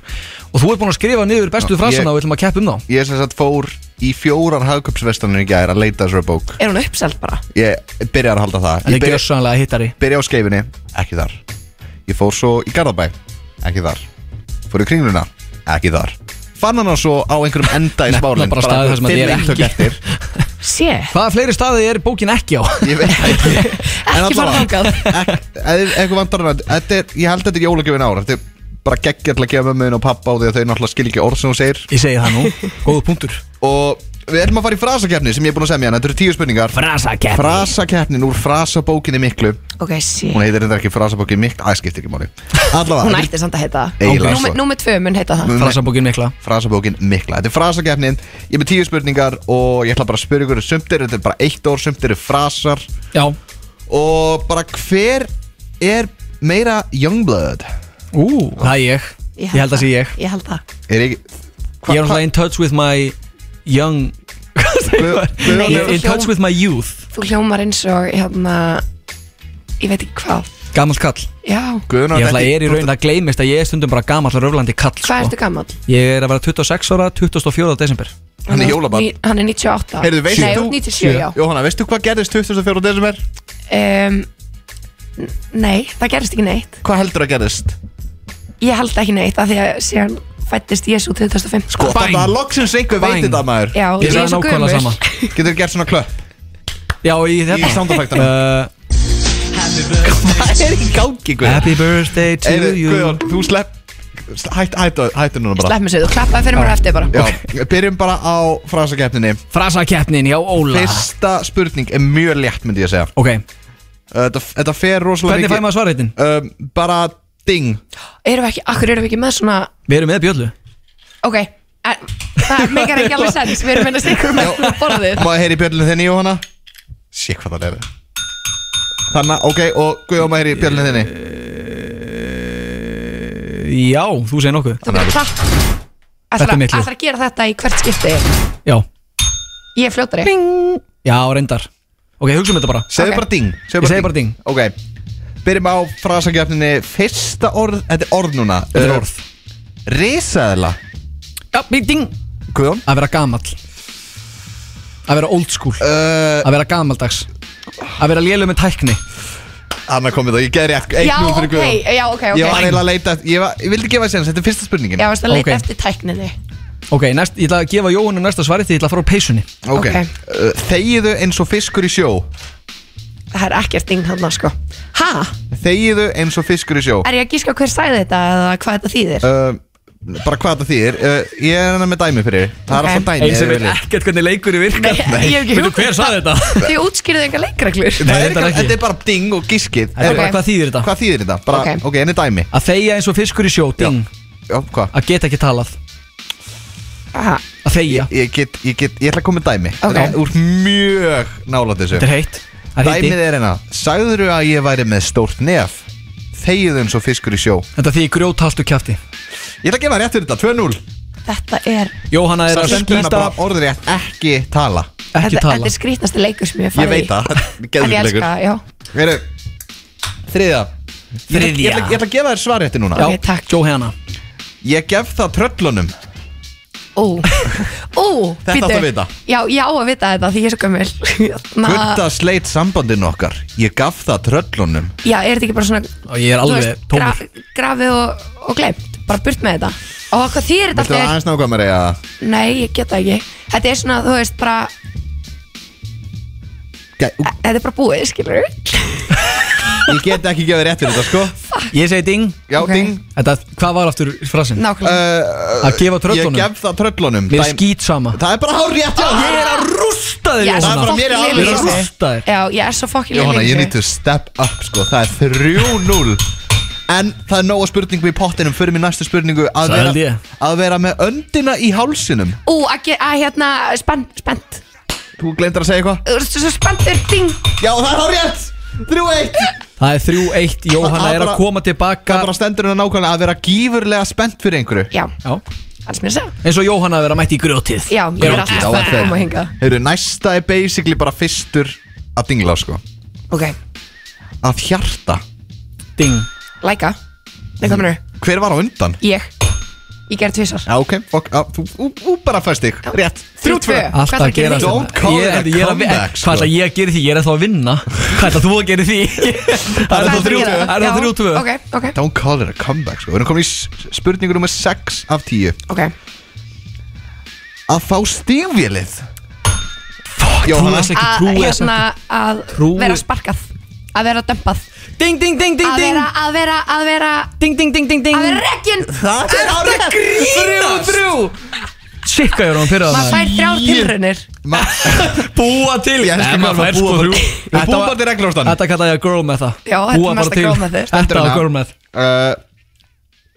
A: og þú ert búin að skrifa niður bestu
B: Já, ég-
A: frasana og við ætlum að keppa um þá
B: Ég sem sagt fór í fjórar hagköpsvestanir í gær að leita þessari bók
G: Er hún uppselt bara?
B: Ég byrjar að halda það
A: En
B: Ég
A: það er
B: byrja,
A: gjössanlega hittari
B: byrja á skeifinni, ekki þar Ég fór svo í Garðabæ, ekki þar Fór í kringluna, ekki þar Fann hana svo á einhverjum enda í
A: Nefna
B: spálinn
A: bara staði þar sem að ég
B: fimm
A: er
B: eintök
A: ekki.
B: eftir
G: Sér,
A: Hvaða fleiri staði er bókin ekki á?
B: Ég veit það ekki En
G: ekki fara
B: allavega,
G: þangað
B: ek- ef- Ef eitthvað vantar hana þetta er- Ég held þetta er jólagjöfin ár Þetta er bara geggja til að gefa mömmun og pappa á því að þau náttúrulega skil ekki orð sem hún segir
A: (laughs) Ég segi það nú, góðu punktur
B: og við ætlum að fara í frasakefni sem ég er búin að semja hérna. þetta eru tíu spurningar
A: Frasakeppni
B: frasakefnin úr frasabókinni miklu
G: Ok,
B: hún
G: sér
B: heitir þetta ekki frasabókinni miklu að skiptir ekki máli
G: Hún
B: allavega, þetta
G: ætti samt að heita það
B: Eiginlega
G: Númer-
B: svo.
G: Númer tvö mun heita það
B: er
A: Frasabókin mikla
B: frasabókin mikla þetta er frasakefnin, ég er með tíu spurningar og ég ætla bara að spyrja ykkur um sumt er þetta er bara eitt orð, sumt eru frasar
A: Já
B: og bara hver er meira Youngblood
A: Ú, það er ég Ég held að sé ég
G: Ég held það
B: er ekki
A: Ég er alltaf in touch with my young
B: alltaf
G: Nei,
A: In
G: þú
A: touch
G: hljóm-
A: with my youth
G: þú hljómar eins og hérna Ég veit ekki hvað
A: Gamalt kall
G: Já,
A: Ég ætla ég er í raun að gleymist að ég er stundum bara gamall röflandi kall
G: hvað
A: sko.
G: ertu gammal?
A: Ég er að vera 26 ára 24. desember
B: Hann er jólabarn.
G: Hann er 98
B: Heyrðu, veist
G: Nei,
B: þú-
G: 97, já
B: Jóhanna, veistu hvað gerðist 24. desember?
G: um, n- Nei, það gerist ekki neitt
B: Hvað heldur að gerðist?
G: Ég held ekki neitt af því að síðan fættist Jésu 2005
B: Sko,
A: Bang.
B: þetta er loksins einhver
A: Bang.
B: veit þetta maður
G: Já,
A: Ég
G: er
A: sagði
G: svo
A: nákvæmlega
G: gömul.
A: sama
B: Getur gert svona klöpp
A: Já, í
B: í
A: þetta
B: soundeffektunum
A: Uh,
B: Hvað er í gangi, Guðjón?
A: happy birthday to
B: Eyvi,
A: you
B: Guðjón, þú slepp Hættu hætt, hætt núna bara
G: Slepp mér sér, þú klappaði fyrir mér á eftir bara
B: Já, byrjum bara á frasakeppninni
A: Frasakeppnin hjá Óla
B: Fyrsta spurning er mjög létt, myndi ég að segja Uh,
A: Ok,
B: Þetta, þetta fer rosalega
A: hvernig fæ maður svarreitin?
B: Um, bara ding
G: Erum við ekki, akkur erum við ekki með svona
A: Við erum með bjöllu
G: Ok, en, það meikar ekki alveg sens Við erum meina stikkur með svona borðið
B: Má ég heyri bjöllinu þinni, Jóhanna? Sér hvað það er Þannig, ok, og Guðjón, má ég heyri bjöllinu þinni
A: Já, þú segir nokkuð
G: Þú bara klapp
A: Þetta
G: Ætlar
A: er
G: að
A: mitt lið.
G: ætlar að gera þetta í hvert skipti
A: Já,
G: Ég er fljótari
A: já, reyndar Ok, hugsa um þetta bara
B: Segðu
G: Ok.
B: bara ding
A: Ég segi bara ding.
B: Ok, byrjum á frasakeppninni Fyrsta orð, þetta er orð núna
A: Þetta er orð
B: Risaðla
A: Já, bing, ding
B: Guðjón
A: Að vera gamall Að vera old school
G: Eh.
B: Uh,
A: Að vera gamaldags Að vera lélum með tækni
B: Anna komið þá, ég gerði rétt
G: Já,
B: 1-0 fyrir
G: ok,
B: Guðjón
G: já, ok, ok
B: Ég var eiginlega að leita, ég, var, ég vildi gefa sér hans, þetta er fyrsta spurningin
G: Já, varst að leita
A: Ok.
G: eftir tækninni
A: Ok, næst, ég ætla að gefa Jóhannu næsta svari því ég ætla að fara á peysunni
B: Ok,
G: ok.
B: Uh, Þegiðu eins og fiskur í sjó
G: Það er ekkert inn hann sko Ha?
B: Þegiðu eins og fiskur í sjó
G: Er ég að gíska hver sæði þetta eða hvað þetta þýðir?
B: uh, Bara hvað það þýðir uh, Ég er hennar með dæmi fyrir þér. Það
G: Ok.
B: er alltaf dæmi ef þið viljið.
A: ekkert hvernig leikur í virkar
G: Nei, ég hef ekki hugmynd.
A: Hver sagði þetta?
G: (laughs) Þið útskýrðu engar leikreglur
B: Það er
A: reyndar
B: ekki-
A: ekki.
B: Þetta er bara ding og giskið
A: Þetta er bara
G: Ok.
A: hvað þýðir þetta?
B: Hvað þýðir þetta? Bara,
G: Ok.
B: ok, henni dæmi
A: Að þegja eins og fiskur í sjó, ding
B: Já, hvað?
A: Að geta ekki talað
G: Aha,
A: Að þegja
B: Ég get, ég get, ég ætla að koma með dæmi
G: Ok.
B: Þetta er Úr mjög nálætt þessu
A: Þetta er heitt Það er
B: Dæmið
A: heiti
B: er hérna Sagður að ég væri með stórt nef Þegiðu eins og fiskur í sjó
A: Þetta því grjóthaltu kjafti
B: Ég ætla að gefa rétt fyrir þetta, 2-0
G: Þetta er
A: Jóhanna er að
B: Sendur hérna
A: skýta
B: bara orður rétt, ekki tala
A: Ekki
G: þetta, þetta
A: tala
G: er skrítnasti leikur sem ég
B: Ég
G: hef farið
B: veit (laughs) það,
G: En ég
B: geðvigur
G: elska,
B: leikur
G: það, já
B: Heru, Þriða Ég ætla-
A: Þriðja.
B: Ég ætla ég ætla að gefa þér svarétti núna
A: Já,
G: Ok, takk.
A: Jóhanna
B: Ég gef það tröllunum
G: Ó, ó
B: Þetta
G: bíddu.
B: áttu að vita.
G: Já, ég á að vita þetta því ég er svo gömul Hérna,
B: Gutta sleit sambandinu okkar Ég gaf það tröllunum
G: Já, er þetta ekki bara svona
B: Og ég er
G: þú
B: alveg tómur.
G: Grafið og, og glemt, bara burt með þetta Og hvað þýr þetta
B: Viltu það aðeins nákvæm er ég
G: Nei, ég get það ekki Þetta er svona, þú veist, bara Þetta er bara búið, skilur
B: Ég get ekki gefið rétt fyrir þetta sko
A: Ég segi ding
B: Já,
G: Ok.
B: ding
A: Þetta, hvað var aftur frasin? Að gefa tröllunum
B: Ég gef það tröllunum
A: Mér
B: Dæm-
A: skýt sama
B: Það er bara hár rétt hjá
A: Ég er að rústa
G: Ég
A: þér
G: er svo
B: mér er
G: fokkin
B: alveg
G: lilli í þessu.
B: rústa þér.
G: Já, ég er svo fokkin
B: Jóhanna,
G: lilli í
B: ég
G: þessu.
B: need to step up sko Það er 3-0 En það er nóga spurningu í pottinum Fyrir mér næstu spurningu að
A: Það held
B: vera,
A: ég.
B: að vera með öndina í hálsinum
G: Ú, að, ge- að hérna, spennt, spennt
B: Þú glemdar að segja eitthvað
G: Þú ert svo spenntur, ding
B: Já, það er hár rétt 3-1
A: Það er 3-1 Jóhanna
B: Það
A: er að
B: bara-
A: koma tilbaka
B: Það bara stendur hennar nákvæmlega að vera gífurlega spennt fyrir einhverju
G: Já,
A: Já.
G: alls mér sá
A: Eins og Jóhanna að vera mætt í grjótið
G: Já, ég er alltaf að
B: þetta er-
G: koma hinga
B: Heyrðu, næsta er basically bara fyrstur að dingla sko
G: Ok,
B: Að hjarta
A: Ding
G: læka Nei, hvað mennur?
B: Hver var á undan?
G: Ég Ég gerði tvísar
B: Já, ok, fokk, á, þú þú- þú bara fæst þig Rétt
G: Þrjú, tvö Hvað
A: Alltað
G: þarf
A: að gera
G: að
B: Don't call
A: Ég-
B: it a
A: ég er að-
B: comeback, sko.
A: Hvað ætla ég að gera í því? Ég er að þá að vinna Hvað ætla þú að gera í því? Það er þá
G: Hvað
A: þrjú
G: ætlarðu að gera?
A: Það er
G: Já,
A: þá þrjú tvö
G: Ok, ok,
B: Don't call it a comeback sko Við erum komin í s- spurningu nummer 6 af 10
G: ok
B: Að fá stífvélið
A: Þú
B: Jóhanna
A: veist ekki
G: Að,
A: trúið
G: hérna, að
A: Trúi-
G: vera sparkað Að vera dömpað
A: Ding, ding, ding, ding,
G: Að vera,
A: ding
G: að vera, að vera
A: Ding, ding, ding, ding, ding
G: Að vera regginn
B: Það er árið
A: Þrjú, þrjú Sikka ég er hann fyrir
G: Maður
A: það
G: fær þrjár tilraunir
A: Búa til
B: Ég elska
A: Nei, maður
B: hvað
A: fær
B: að búa
A: sko
B: bara-
A: þrjú
B: Við
A: Þetta
B: búum
A: var-
B: bara til reglur á staðnum.
A: Þetta kallaði ég girl meth það.
G: Já, þetta er
A: Búa bara
G: mesta
A: til.
G: girl methið.
A: Þetta var girl meth
B: uh,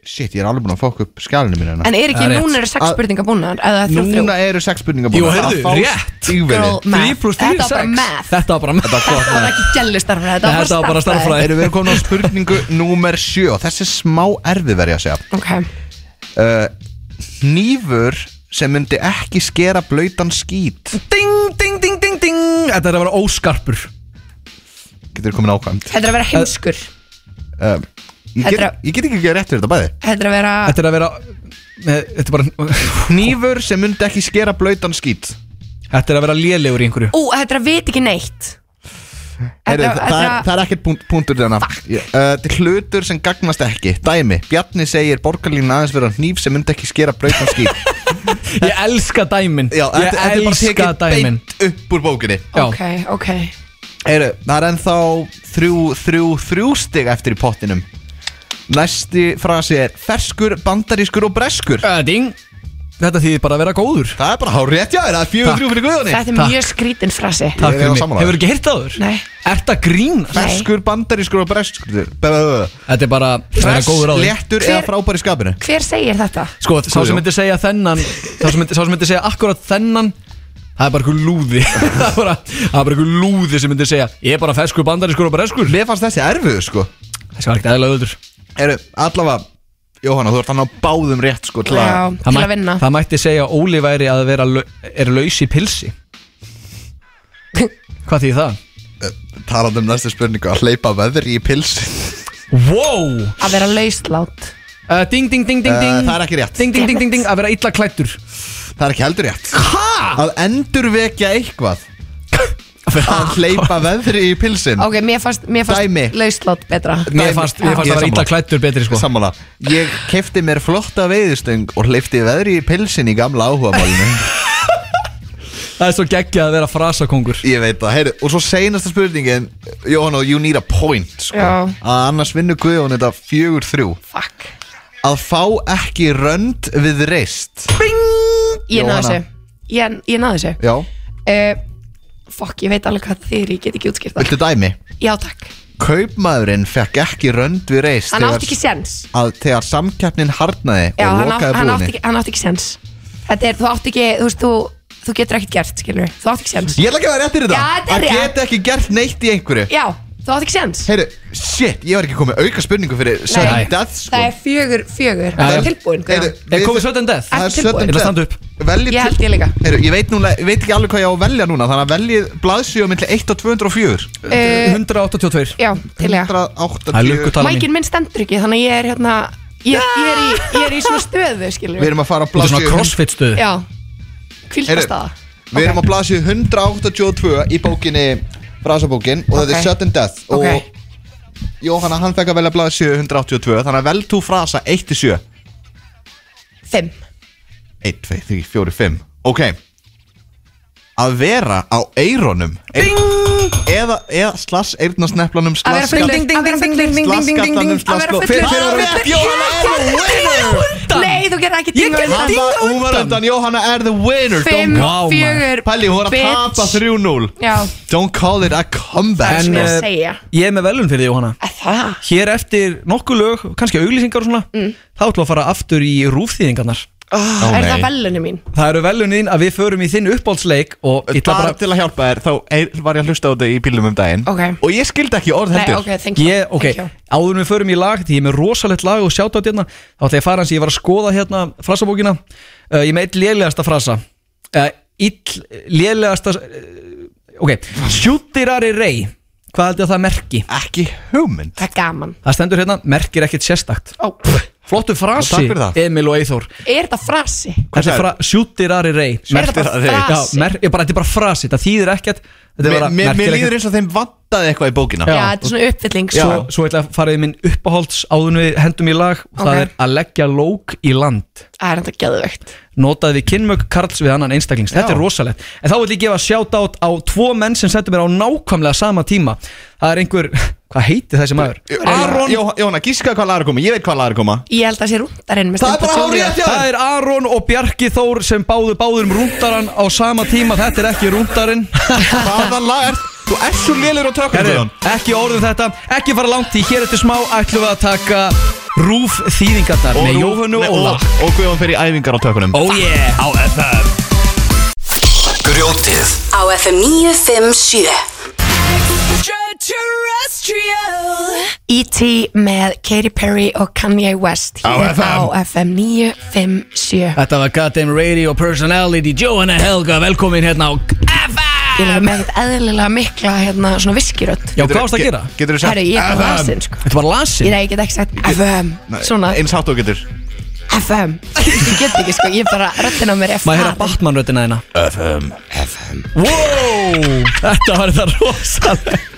B: Shit, ég er alveg búin að fokk upp skjálinu mínu hérna
G: En er
A: Það
G: ekki,
A: er rétt.
G: núna eru sex
B: Að-
G: spurningar búnar Eða þrjú, þrjú
B: Núna eru 6 spurningar
A: Jú,
B: búin
A: heyrðu, rétt.
B: stífvélið
G: Girl
A: Þrjú
G: math
A: pluss þrjú,
G: Þetta var bara
A: sex.
G: math
A: Þetta var bara math
G: Þetta var ekki gælistarfræði
A: Þetta var bara starffræði.
B: Erum við komin á spurningu (laughs) númer 7 Þessi er smá erfið verið að segja
G: Ok
B: uh, Nýfur sem myndi ekki skera blöytan skít
A: Ding, ding, ding, ding, ding Þetta er að vera óskarpur
B: Getur komin ákvæmt
G: Þetta er að vera heimskur
B: uh, ég, get,
G: Þetta er-
B: ég get ekki ekki rétt fyrir þetta bæði
G: Þetta er að vera
A: Þetta er að vera með, Þetta er bara
B: Nýfur sem myndi ekki skera blöytan skít
A: Þetta er að vera lélegur í einhverju
G: Ú, þetta er að vita ekki neitt
B: Heyrðu,
G: Þetta-
B: það, er,
G: þetta-
B: það er ekkert punkt, punktur þarna Ég- uh, Þetta er hlutur sem gagnast ekki Dæmi, Bjarni segir borgarlínu aðeins vera nýf sem myndi ekki skera blöytan skít
A: Ég elska
B: (laughs)
A: dæmin
B: Já, þetta,
A: Ég
B: þetta er bara
A: elska
B: tekið
A: dæmin
B: beint upp úr bókinni
A: Já.
G: Ok, ok
B: Eru, það er ennþá þrjú, þrjú, þrjú stig eftir í pottinum Næsti frasi er ferskur, bandarískur og breskur
A: Uh, Ding Þetta þýðir bara að vera góður
B: Það er bara hár rétt já, þér, það er fjögur þrjú fyrir guðunni
G: Þetta er mjög skrítin frasi
A: Takk
B: eiginlega
A: fyrir mig
B: sammála
A: Hefur ekki hirt áður?
G: Nei.
A: Ert að grínast?
G: Nei.
B: Ferskur, bandarískur og breskur Fress,
A: Þetta er bara að vera góður á því
B: léttur
G: Hver-
B: eða frábær í skapinu
G: Hver segir þetta?
A: Sko, sá sem myndi segja þennan Sá sem myndi, sá sem myndi segja akkurat þennan Það er bara einhver lúði (laughs) Það er bara, það er bara einhver lúði sem myndi segja Ég er bara feskur, bandarískur og breskur
B: Mér fannst þessi erfiður sko
A: Það skal ekki eðla öður
B: Eru, allavega, Jóhanna, þú ert hann á báðum rétt sko til
G: Já,
B: að
G: til að vinna
A: Það mætti segja að Óli væri að vera lau, er laus í pilsi
G: (laughs)
A: Hvað þýð það?
B: talað um næstu spurningu að hleypa veðri í pils
A: Wow
G: Að vera lauslát
A: uh, Ding, ding, ding, ding,
B: Eh,
A: ding
B: það er ekki rétt.
A: Ding, ding, ding, ding, ding Að vera illa klættur
B: (laughs) Það er ekki heldur rétt Að endurvekja
G: (laughs)
B: eitthvað Að hleypa veðri í pilsin
G: Ok, mér fannst, mér fannst
B: Dæmi.
G: lauslát betra
A: Mér fannst, mér fannst
B: Ég
A: að
B: er
A: vera illa
B: sammála.
A: klættur betri sko
B: Sammála Ég kefti mér flotta veiðustöng og hleypti veðri í pilsin í gamla áhugamálinu
A: Það er svo geggja að vera frasakongur
B: Ég veit það, heyrðu Og svo seinasta spurningin Jóhann og you need a point sko.
G: Já.
B: Að annars vinnu Guðjón þetta fjögur þrjú
G: Fuck
B: Að fá ekki rönd við reist
G: Ég náði
B: Jóhanna.
G: þessu Ég, ég náði þessu
B: Já
G: uh, Fuck, ég veit alveg hvað það þýr Ég get ekki útskýrt það
B: Viltu dæmi?
G: Já, takk
B: Kaupmaðurinn fekk ekki rönd við reist
G: Hann átti ekki séns
B: að þegar samkeppnin harnaði og
G: Já, hann, átt,
B: lokaði
G: hann, átti,
B: búinni
G: ekki- hann átti ekki séns Þetta er, þú átti ekki, þú veist, þú, þú getur ekkert gert, skilur Þú átti ekki séns
B: Ég ætla ekki að vera réttir í
G: Já,
B: það
G: þetta er
B: Að
G: rétt.
B: geta ekki gert neitt í einhverju
G: Já, þú átti ekki séns
B: Heyru, shit, ég var ekki komið auka spurningu fyrir
G: Nei.
B: Sudden Death sko
G: Það er fjögur, fjögur,
A: Já,
G: það
A: já.
G: er tilbúin
B: Heyru,
G: Guðjón.
A: Er
B: við-
A: komið sudden death?
B: Það er
G: Ertu tilbúin?
B: Sudden
A: Ég ætla að standa
B: Death
A: upp.
B: Veljið
G: Ég
B: til-
G: held ég líka
B: Heyru, ég veit, núna, ég veit ekki alveg hvað ég á að velja núna Þannig að veljið blaðsíu milli 1 og 204
G: Eh,
A: 182
G: Já, til ég
B: 180
A: Það er um lukku tala mín
G: Mækin minn stendur ekki, þannig að ég er hérna ég, ég, er í, ég er í svona stöðu, skilur
B: Við erum að fara að
A: Þetta er
B: blasja
A: svona crossfit stöðu
G: Já, kvildastaða
B: Við erum á blasu 182 í bókinni Brasabókin og þetta
G: Ok.
B: er Sudden Death og Jóhanna hann fekk að velja blasu 182 þannig að vel þú frasa 1 til 7
G: Fimm
B: 1, 2, 3, 4, 5 Ok Að vera á eironum Ding Eða, eða slass eirnarsneplanum
G: Að vera fullur, að vera fullur, ding, ding, ding, ding, ding, að vera fullur. Nei, þú gerði ekki
B: Ég um
G: dingo
B: gerði
G: undan.
B: dingo undan Hún var undan, Jóhanna er the winner
G: Fimm,
B: Don't- Vá, maður.
G: fjögur,
B: Palli, hún var að
G: bitch.
B: tapa 3-0
G: Já,
B: Don't call it a
G: það
B: comeback sko.
G: er sem ég er
A: eh,
G: að segja
A: Ég er með velun fyrir því, Jóhanna
G: Það, Mm.
A: Hér eftir nokkuð lög, kannski auglýsingar og svona Þá ætlum við að fara aftur í rúfþýðingarnar
G: oh, er það velunni mín
A: Það eru velunin að við förum í þinn uppbólsleik Og ég ætla
B: Bara
A: bara
B: til að hjálpa þér, þá er- var ég að hlusta á þetta í bílum um daginn
G: Ok,
B: Og ég skildi ekki orð
G: nei,
B: heldur
G: ok, thank you,
A: Ég, ok,
G: thank you.
A: áður en við förum í lag Því ég er með rosalegt lag og sjátt á hérna Þá ætla ég að fara hans, ég var að skoða hérna frasabókina uh, Ég er með eitt lélegasta frasa uh, Ill, lélegasta uh, Ok, sjúttirari rey Hvað heldur það merki?
B: Ekki hugmynd
G: Það er gaman
A: Það stendur hérna, merkir ekkert sérstakt
G: Ó, pff,
A: Flottu frasi,
B: takk fyrir það.
A: Emil og Eithor
G: Er það frasi?
A: Þetta er fra, sjúttirari rey
G: Er það bara
B: Merktir að þeir-
A: Já,
G: frasi?
A: mer, ég bara, þetta er bara frasi, þetta þýðir ekkert Þetta
B: Mér
A: er bara
B: mér- mér
A: merkir
B: líður
A: ekkert
B: eins og þeim vantaði eitthvað í bókina
G: Já, þetta er svona uppfylling sko.
A: Svo,
G: svo
A: svo ætla ég að fara í minn uppáhalds áður en við hendum í lag og Það
G: Ok.
A: er að leggja lók í land
G: Það er þetta geðvögt
A: Notaði við kynmök Karls við annan einstaklings Þetta
B: Já.
A: er rosalegt En þá vil ég gefa shoutout á tvo menn sem settu mér á nákvæmlega sama tíma Það er einhver, (laughs) hvað heiti þessi maður?
B: Aron Jóhanna, gíska hvað lagar koma, ég veit hvað lagar koma
G: Ég held að það sé rúndarinn með
B: Það er
G: Steinda
B: bara
G: Júlíu.
B: hárrétt hjá
A: Það er Aron og Bjarki Þór sem báðu báður um rúndaran á sama tíma Þetta er ekki (laughs) rúndarinn
B: Hvaða lag er Þú ert svo lélur á tökum
A: Herri, ekki orðum þetta, ekki fara langt í Hér eftir smá ætlum við að taka Rúf þýðingarnar með Jóhannu og Óla
B: Og Guðjón fer í æfingar á tökunum
A: Oh yeah, á FM
D: Grjótið
E: á FM 957
G: E.T. E með Katy Perry og Kanye West hér á FM 957
A: Þetta var Goddamn Radio Personality Johanna Helga, velkomin hérna á
G: Ég er með eitthvað eðlilega mikla hérna svona viskirödd
A: Já, hvað varst að gera?
B: Getur þú sagt
G: Herri, ég er
B: FM?
G: bara lasin sko
A: Þetta var
G: Ég,
A: lasin
G: nei, ég get ekki sagt FM Svona
B: Eins hátt og getur
G: FM Ég get ekki sko, ég bara röddina á mér er
A: Maður heyra
G: farin.
A: Batman-röddina þeina FM FM Wow, þetta var þetta rosaleg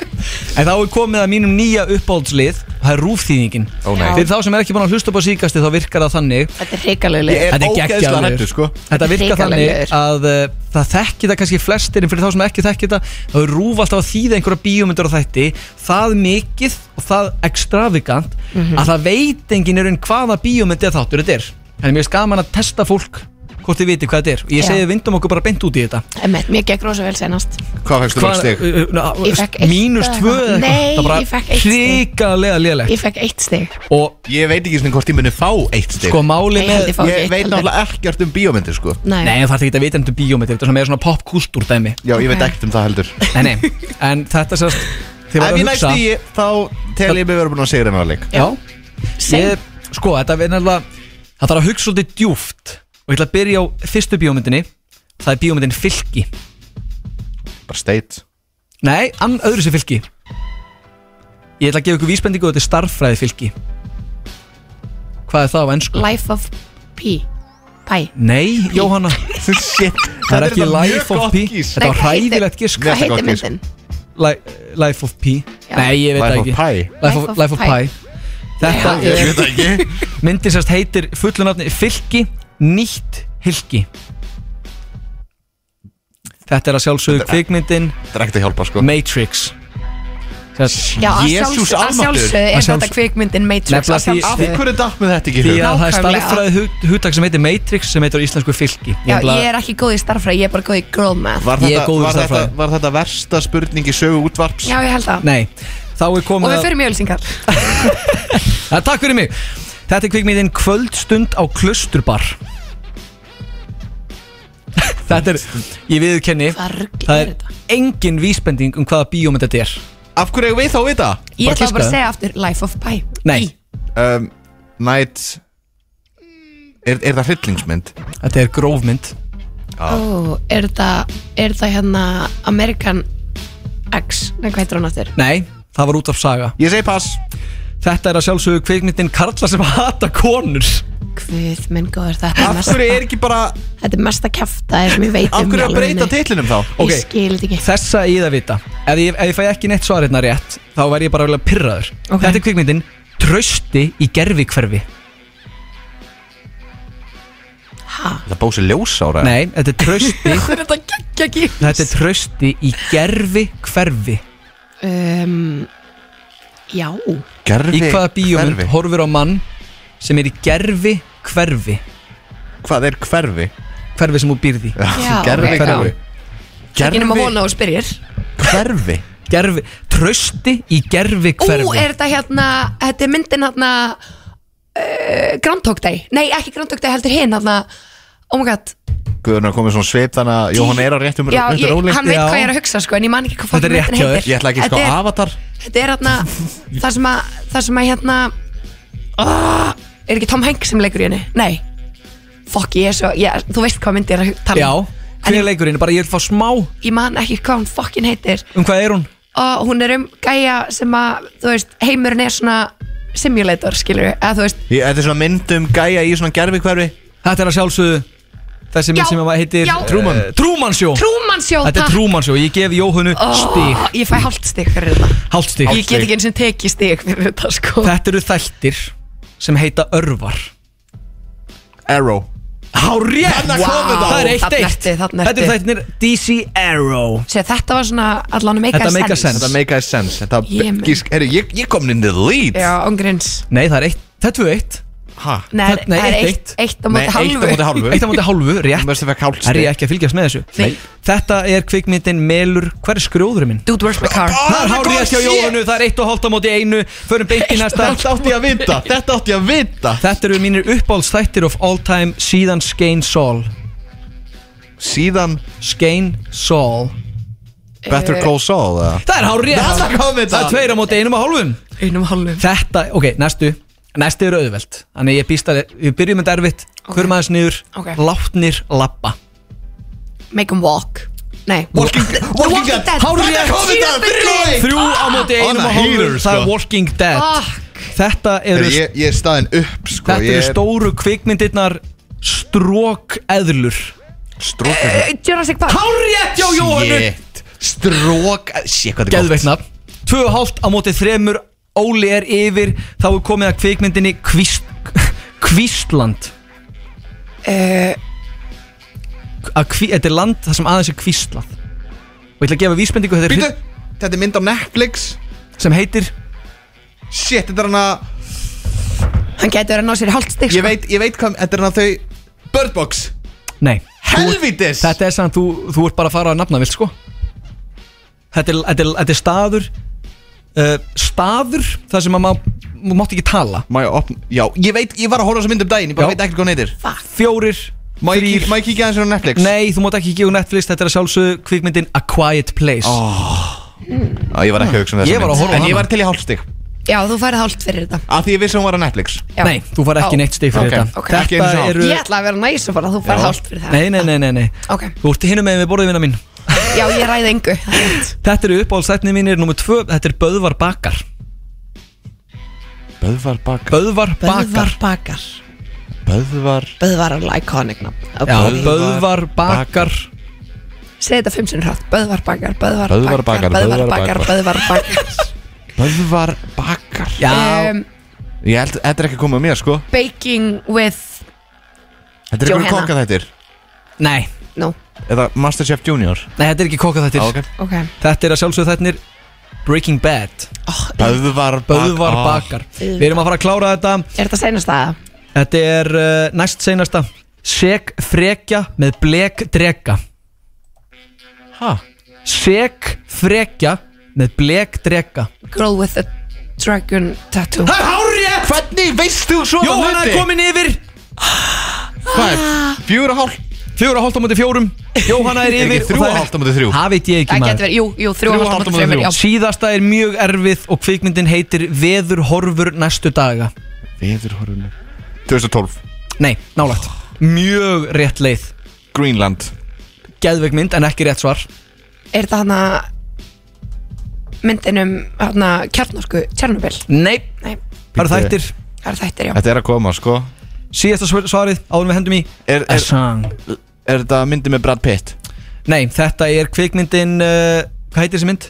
A: En þá er komið að mínum nýja uppáhaldslið Það er rúfþýðingin
B: Ó, nei.
A: Fyrir þá sem er ekki búin að hlusta upp á síkasti þá virkar það þannig
G: Þetta er hrikalegu
B: Ég
G: lið
B: er
A: Þetta er
B: ógeðslega
A: geggjaður.
B: hræddur, sko.
A: Þetta virkar
G: Hrikalegur.
A: þannig að uh, það þekkir það kannski flestir en fyrir þá sem ekki þekkir það þá er rúf alltaf að þýða einhverja bíómyndur á þætti það mikið og það extravagant
G: Mhm.
A: að það veit enginn er en hvaða bíómyndi þáttur þetta er Þannig mér finnst gaman að testa fólk hvort þið viti hvað þetta er og ég
G: Já.
A: segi við vindum okkur bara beint út í þetta uh,
G: Emmett, mér gekk rosa vel senast
B: Hvað fækst þú mörg stig?
G: Ég fékk eitt
A: mínus
G: eða
A: tvö eða eitthvað.
G: eitthvað. Nei,
A: það er
G: ég
A: bara
G: fékk eitt stig.
A: hrikalega lélegt
G: Ég fekk eitt stig
A: og
B: Ég veit ekki svona hvort ég muni fá eitt stig
A: sko máli
G: Ég held
A: með
G: ég fá ekki
B: Ég
G: eitt
B: veit
G: heldur.
B: náttúrulega ekkert um bíómyndir sko
A: Nei,
G: Nei,
A: það þarf ekki að vita um bíómyndir Þetta er svona meira svona popkústúr dæmi
B: Já, ég veit
G: Ok.
B: ekkert um það heldur
A: Nei, nei, en þetta sérst
B: Ef
A: Þið var að
B: ég næst
A: hugsa
B: í, þá tel ég mig verið búin að segja þennan leik
A: Já,
G: sem
A: ég, sko, þetta er nefnilega Það þarf að hugsa svolítið djúft Og ég ætla að byrja á fyrstu bíómyndinni Það er bíómyndin Fylki
B: Bara state
A: Nei, ann öðru sem Fylki Ég ætla að gefa ykkur vísbendingu og Þetta er starffræði Fylki Hvað er það á ennsku?
G: Life of P Pæ
A: Nei, Jóhanna,
B: (laughs) Shit
A: það er ekki
B: þetta mjög
A: Life of
B: gott
A: P
B: gísk.
A: Þetta var
G: Nei, hvað heitir-
A: hræðilegt gisk
G: Hvað
B: Mjög gott sko.
G: heitir
B: gísk.
G: myndin?
A: Li- Life of P
G: Já.
A: Nei, ég veit það
B: Life
A: ekki
B: of Pi
A: Life of, Life of Pi Þetta
G: Já,
A: er
B: Ég veit það ekki
A: (laughs) myndin sérst heitir fullu nafni Fylki, nýtt hylki Þetta er að sjálfsögðu kvikmyndin
B: Það er ekkert að hjálpa sko
A: Matrix Sérst,
G: Já, að
B: Jesús
G: sjálfsögðu- að
B: almáttugur.
G: sjálfsögðu
A: Að
G: er þetta
A: sjálfsögðu-
G: kvikmyndin Matrix
A: Nefnilega
G: að
A: því-
B: Af
G: sjálfsögðu.
B: hverju datt með þetta ekki í
A: Því
B: hug?
A: að það er
G: Nákvæmlega.
A: starffræði hug- hugtak sem heitir Matrix sem heitir á íslensku fylki
G: Já,
A: ætla-
G: ég er ekki góð í starffræði, ég er bara góð í girl math
B: Var
A: Ég er
B: þetta,
A: góður í
B: var, þetta,
A: stærðfræði.
B: var þetta versta spurning í sögu útvarps?
G: Já, ég held það
A: Nei, þá er
G: Og
A: komið
G: við
A: að
G: fyrir mjölusingar
A: Ja, Eh, Takk fyrir mig Þetta er kvikmyndin Kvöldstund á Klusturbar (laughs) Þetta er, ég viðurkenni
G: Hvaða rugl
A: Það
G: er
A: er
G: þetta?
A: engin vísbending um hvaða bíómynd þetta er
B: Af hverju eigum við þá að vita?
G: Ég
A: Bara
G: ætla bara
A: giskaðu.
G: að segja aftur Life of Pi
A: Nei,
B: Um, night Er, er það hryllingsmynd?
A: þetta er grófmynd
G: Ó, er þetta, er þetta hérna American X Nei, hvað heitir hún aftur?
A: Nei, það var út af saga
B: Ég segi pass
A: Þetta er að sjálfsögðu kvikmyndin Karla sem hata konur
G: Guð minn góður, þetta er
A: Af
G: mesta
A: hverju er ekki bara
G: Þetta er mesta kjafta sem ég veit um í alvörunni.
A: titlinum þá?
G: Ég skil þetta ekki
A: Þessa ég það vita ef ég, ef ég fæ ekki neitt svar hérna rétt Þá væri ég bara vel að pyrraður
G: Ok.
A: Þetta er kvikmyndin Trausti í gerfikverfi
B: Það bósi ljósára
A: Nei, þetta er
G: (laughs)
A: Trausti
G: Þetta geggja gifs
A: Þetta er Trausti í gerfikverfi
G: um, Já
A: Í hvaða bíómynd horfur á mann Sem er í gerfikverfi
B: Hvað er hverfi?
A: Hverfi sem hún býrði
G: Já,
B: (laughs)
G: ok,
A: Gervikverfi.
G: Ég nema vona og spyrjir
B: Gerfi
A: Gerfi Trausti í gerfi
G: Ú, er þetta hérna Þetta er myndin hérna uh, Grand Talk Day Nei, ekki Grand Talk Day, heldur hinn hérna Oh my god
B: Guðurinn er komið svona svip þannig að Jóhann er á réttum
G: Já,
B: réttum
G: ég,
B: róli.
G: hann veit hvað ég er að hugsa sko En ég man ekki hvað
B: Þetta er
G: fucking
B: rétt
G: myndin
B: hjá þér.
G: heitir.
B: Ég ætla ekki, sko,
G: Þetta er-
B: Avatar.
G: Þetta
B: (laughs)
G: er hérna Það sem að Það sem að hérna oh, Er ekki Tom Hanks sem leikur í henni? Nei Fuck, ég er svo ég, Þú veist hvað myndi ég er að hu- tala
A: Já,
G: um.
A: hver er leikurinn? Bara ég vil fá smá
G: Ég man ekki hvað hún fucking heitir
A: Um hvað er hún?
G: og hún er um gæja sem að, þú veist, heimurinn er svona simulator, skilur við, eða þú veist
B: Ég- Þetta er svona mynd um gæja í svona gerfi hverfi
A: Þetta er að sjálfsögðu Þessi mynd
G: Já,
A: sem heitir
G: já.
B: Truman.
A: Eh, Truman Show
G: Truman Show,
A: Þetta
G: takk.
A: er Truman Show, ég gef Jóhannu
G: Ó,
A: stík
G: Ég fæ hálft stík fyrir þetta
A: Hálft stík
G: Ég get ekki eins og tekið stík fyrir þetta, sko
A: Þetta eru þættir sem heita örvar
B: Arrow
A: Hárið
G: Þarna kom þetta.
A: Það er eitt
G: Þarna
A: eitt
G: ertu, þarna
A: Þetta eru
G: ertu.
A: þættir DC Arrow
G: Sér, þetta var svona allan um að make
A: Þetta
G: a
A: make a
G: sense.
A: sense.
B: Þetta make a sense Þetta
G: Ég minn.
B: gísk Herru, ég, ég kom inn í the lead
G: Já, ángrins
A: Nei, það er eitt Þetta er eitt
B: Ha?
G: Nei,
A: Það- nei,
G: það er
A: eitt,
G: eitt, eitt á
B: Nei,
G: móti
B: eitt á
G: halvu
B: móti hálfu
A: Eitt á móti hálfu,
B: Þú
A: rétt
B: veist að fekk hálft
A: Er
B: stig.
A: ég ekki að fylgjast með þessu?
G: Nei.
A: Þetta er kvikmyndin Melur Hver er skrjóðurinn minn?
G: Dude, where's my car?
B: Ah,
A: Það er hárið hjá Jóhannu, það er eitt og hálft á móti einu Förum beint í næsta
B: Þetta átti ég að vita Þetta átti ég að vita
A: Þetta eru mínir uppáhaldsþættir of all time síðan Skane Saul
B: Síðan
A: Skane Saul
G: Eh,
B: Better Call Saul eða?
A: Það er hárið
B: Þarna kom þetta.
A: Það er tveir á móti einum og hálfum
G: Einum halvu
A: Þetta, ok, næstu Næstu eru auðvelt Þannig ég býst að við byrjum með derfitt okay. Hver maður sniður,
G: Ok.
A: látnir labba
G: Make him walk Nei
B: Walking, walking
G: Walking
B: Dead
G: Dead.
A: Hárið
G: Þetta
A: rétt.
G: kom þetta,
B: Þrjú
A: Þrjú á móti
B: On
A: einum
B: a
A: og hálfum
B: heater,
A: Það er
B: sko.
A: Walking Dead
G: Fuck.
A: Þetta eru,
H: Heyrðu, Ég, ég er staðinn upp sko
A: þetta
H: ég
A: eru
H: er-
A: stóru kvikmyndirnar Strók eðlur
B: Strókar
G: Eh, Jurassic Park
A: Hárið rétt hjá Jóhannu
B: Shit Strók Shit, hvað þetta er
A: Geðveikna Tvö og hálft á móti þremur Óli er yfir Þá er komið að kvikmyndinni Kvist, Kvistland
G: Eh,
A: Að kví, Þetta er land þar sem aðeins er kvistlað Og ég ætla að gefa vísbendingu Þetta er
B: Býtu Þetta er mynd á Netflix
A: hryll- sem heitir
B: Shit, þetta er hann að
G: Hann getur að ná sér hálft stík,
B: Ég veit, ég veit hvað Þetta er hann að þau Bird Box
A: Nei
B: Helvítis
A: Þetta er samt, þú, þú ert bara að fara að nafna vilt sko Þetta er, þetta er, þetta er staður uh, Staður þar sem að maður Má mátt ekki tala
B: Má ég opna Já, ég veit Ég var að horfa á þessu mynd um daginn Ég bara
A: Já.
B: veit ekkert hvað hún heitir
A: Fjórir
B: Má ég, kík,
A: þrír-
B: má ég kíkja aðeins á Netflix
A: Nei, þú mátt ekki gefa Netflix Þetta er að sjálfsögðu kvikmyndin A Quiet
B: Á,
A: Place
B: Ég var ekki að hugsa um þessu
A: Ég var að
B: mynd.
A: horfa á
B: En ég
A: hana.
B: var til í hálfstig
G: Já, þú færið hálft fyrir þetta
B: Af því ég vissi að hún var á Netflix
G: Já.
A: Nei, þú far ekki
G: Ó.
A: neitt stig fyrir
B: Ok,
A: þetta
B: ok. Ekki einu sinni
A: Þetta
B: hálft.
A: eru
G: Ég ætla að vera næs um og bara þú fær hálft fyrir það
A: Nei, nei, nei, nei, nei.
G: Ok,
A: Þú ert hinum með við borðið vinna mín
G: já ég ræði engu það er rétt.
A: Þetta eru uppáhaldstætni mínir Númer tvö, þetta er Böðvar Bakar
B: Böðvar Bakar
A: Böðvar Bakar
G: Böðvar Bakar
B: Böðvar
G: Böðvar er alveg iconic nafn
A: Já,
G: okay.
A: Böðvar Bakar
G: Segð þetta fimm sinn hratt Böðvar Bakar, Böðvar
B: Böðvar Bakar,
G: Böðvar
B: Böðvar
G: Bakar, Böðvar Bakar
B: Böðvar Bakar
A: Já,
G: um,
B: Ég held, þetta er ekki komið að mér sko
G: Baking with
B: Þetta er einhverju
G: Johanna.
B: kokka þættir
A: nei,
G: No,
B: Eða Masterchef Junior
A: nei, þetta er ekki kokka
B: Ah,
A: þetta
G: ok
A: Þetta er að sjálfsögðu þættinir Breaking Bad
B: Böðvar Bakar
A: Böðvar
B: Ah.
A: Bakar Við erum að fara að klára þetta
G: Er þetta senast aða?
A: Þetta er uh, næst seinasta Seg frekja með blek drega
B: Ha?
A: Seg frekja með blek drega
G: Girl with a dragon tattoo
A: Það er hárið
B: Hvernig veist þú svona
A: Jóhanna er
B: hluti?
A: komin yfir
B: Hvað er? Fjögur og hálf
A: Fjóra hálft á móti fjórum Jóhanna er
B: (laughs)
A: yfir
B: Ekki þrjú
A: og það
B: og
A: er-
B: hálft á móti þrjú
A: Það veit ég ekki
G: Það
A: maður
G: getur verið, jú, jú, þrjú og hálft á móti þremur, já.
A: Síðasta er mjög erfið og kvikmyndin heitir Veður horfur næstu daga
B: Veður horfum 2012
A: Nei, nálagt Mjög rétt leið
B: Greenland
A: Geðveik mynd en ekki rétt svar
G: Er þetta hana myndin um hana kjarnorku Tjernobyl?
A: Nei,
G: Nei
A: Það eru þættir
G: Það eru þættir, já
B: Þetta er að koma, sko
A: Síðasta svar- svarið, áður en við hendum í
B: Er,
A: er,
B: er þetta myndi með Brad Pitt?
A: Nei, þetta er kvikmyndin uh, Hvað heitir þessi mynd?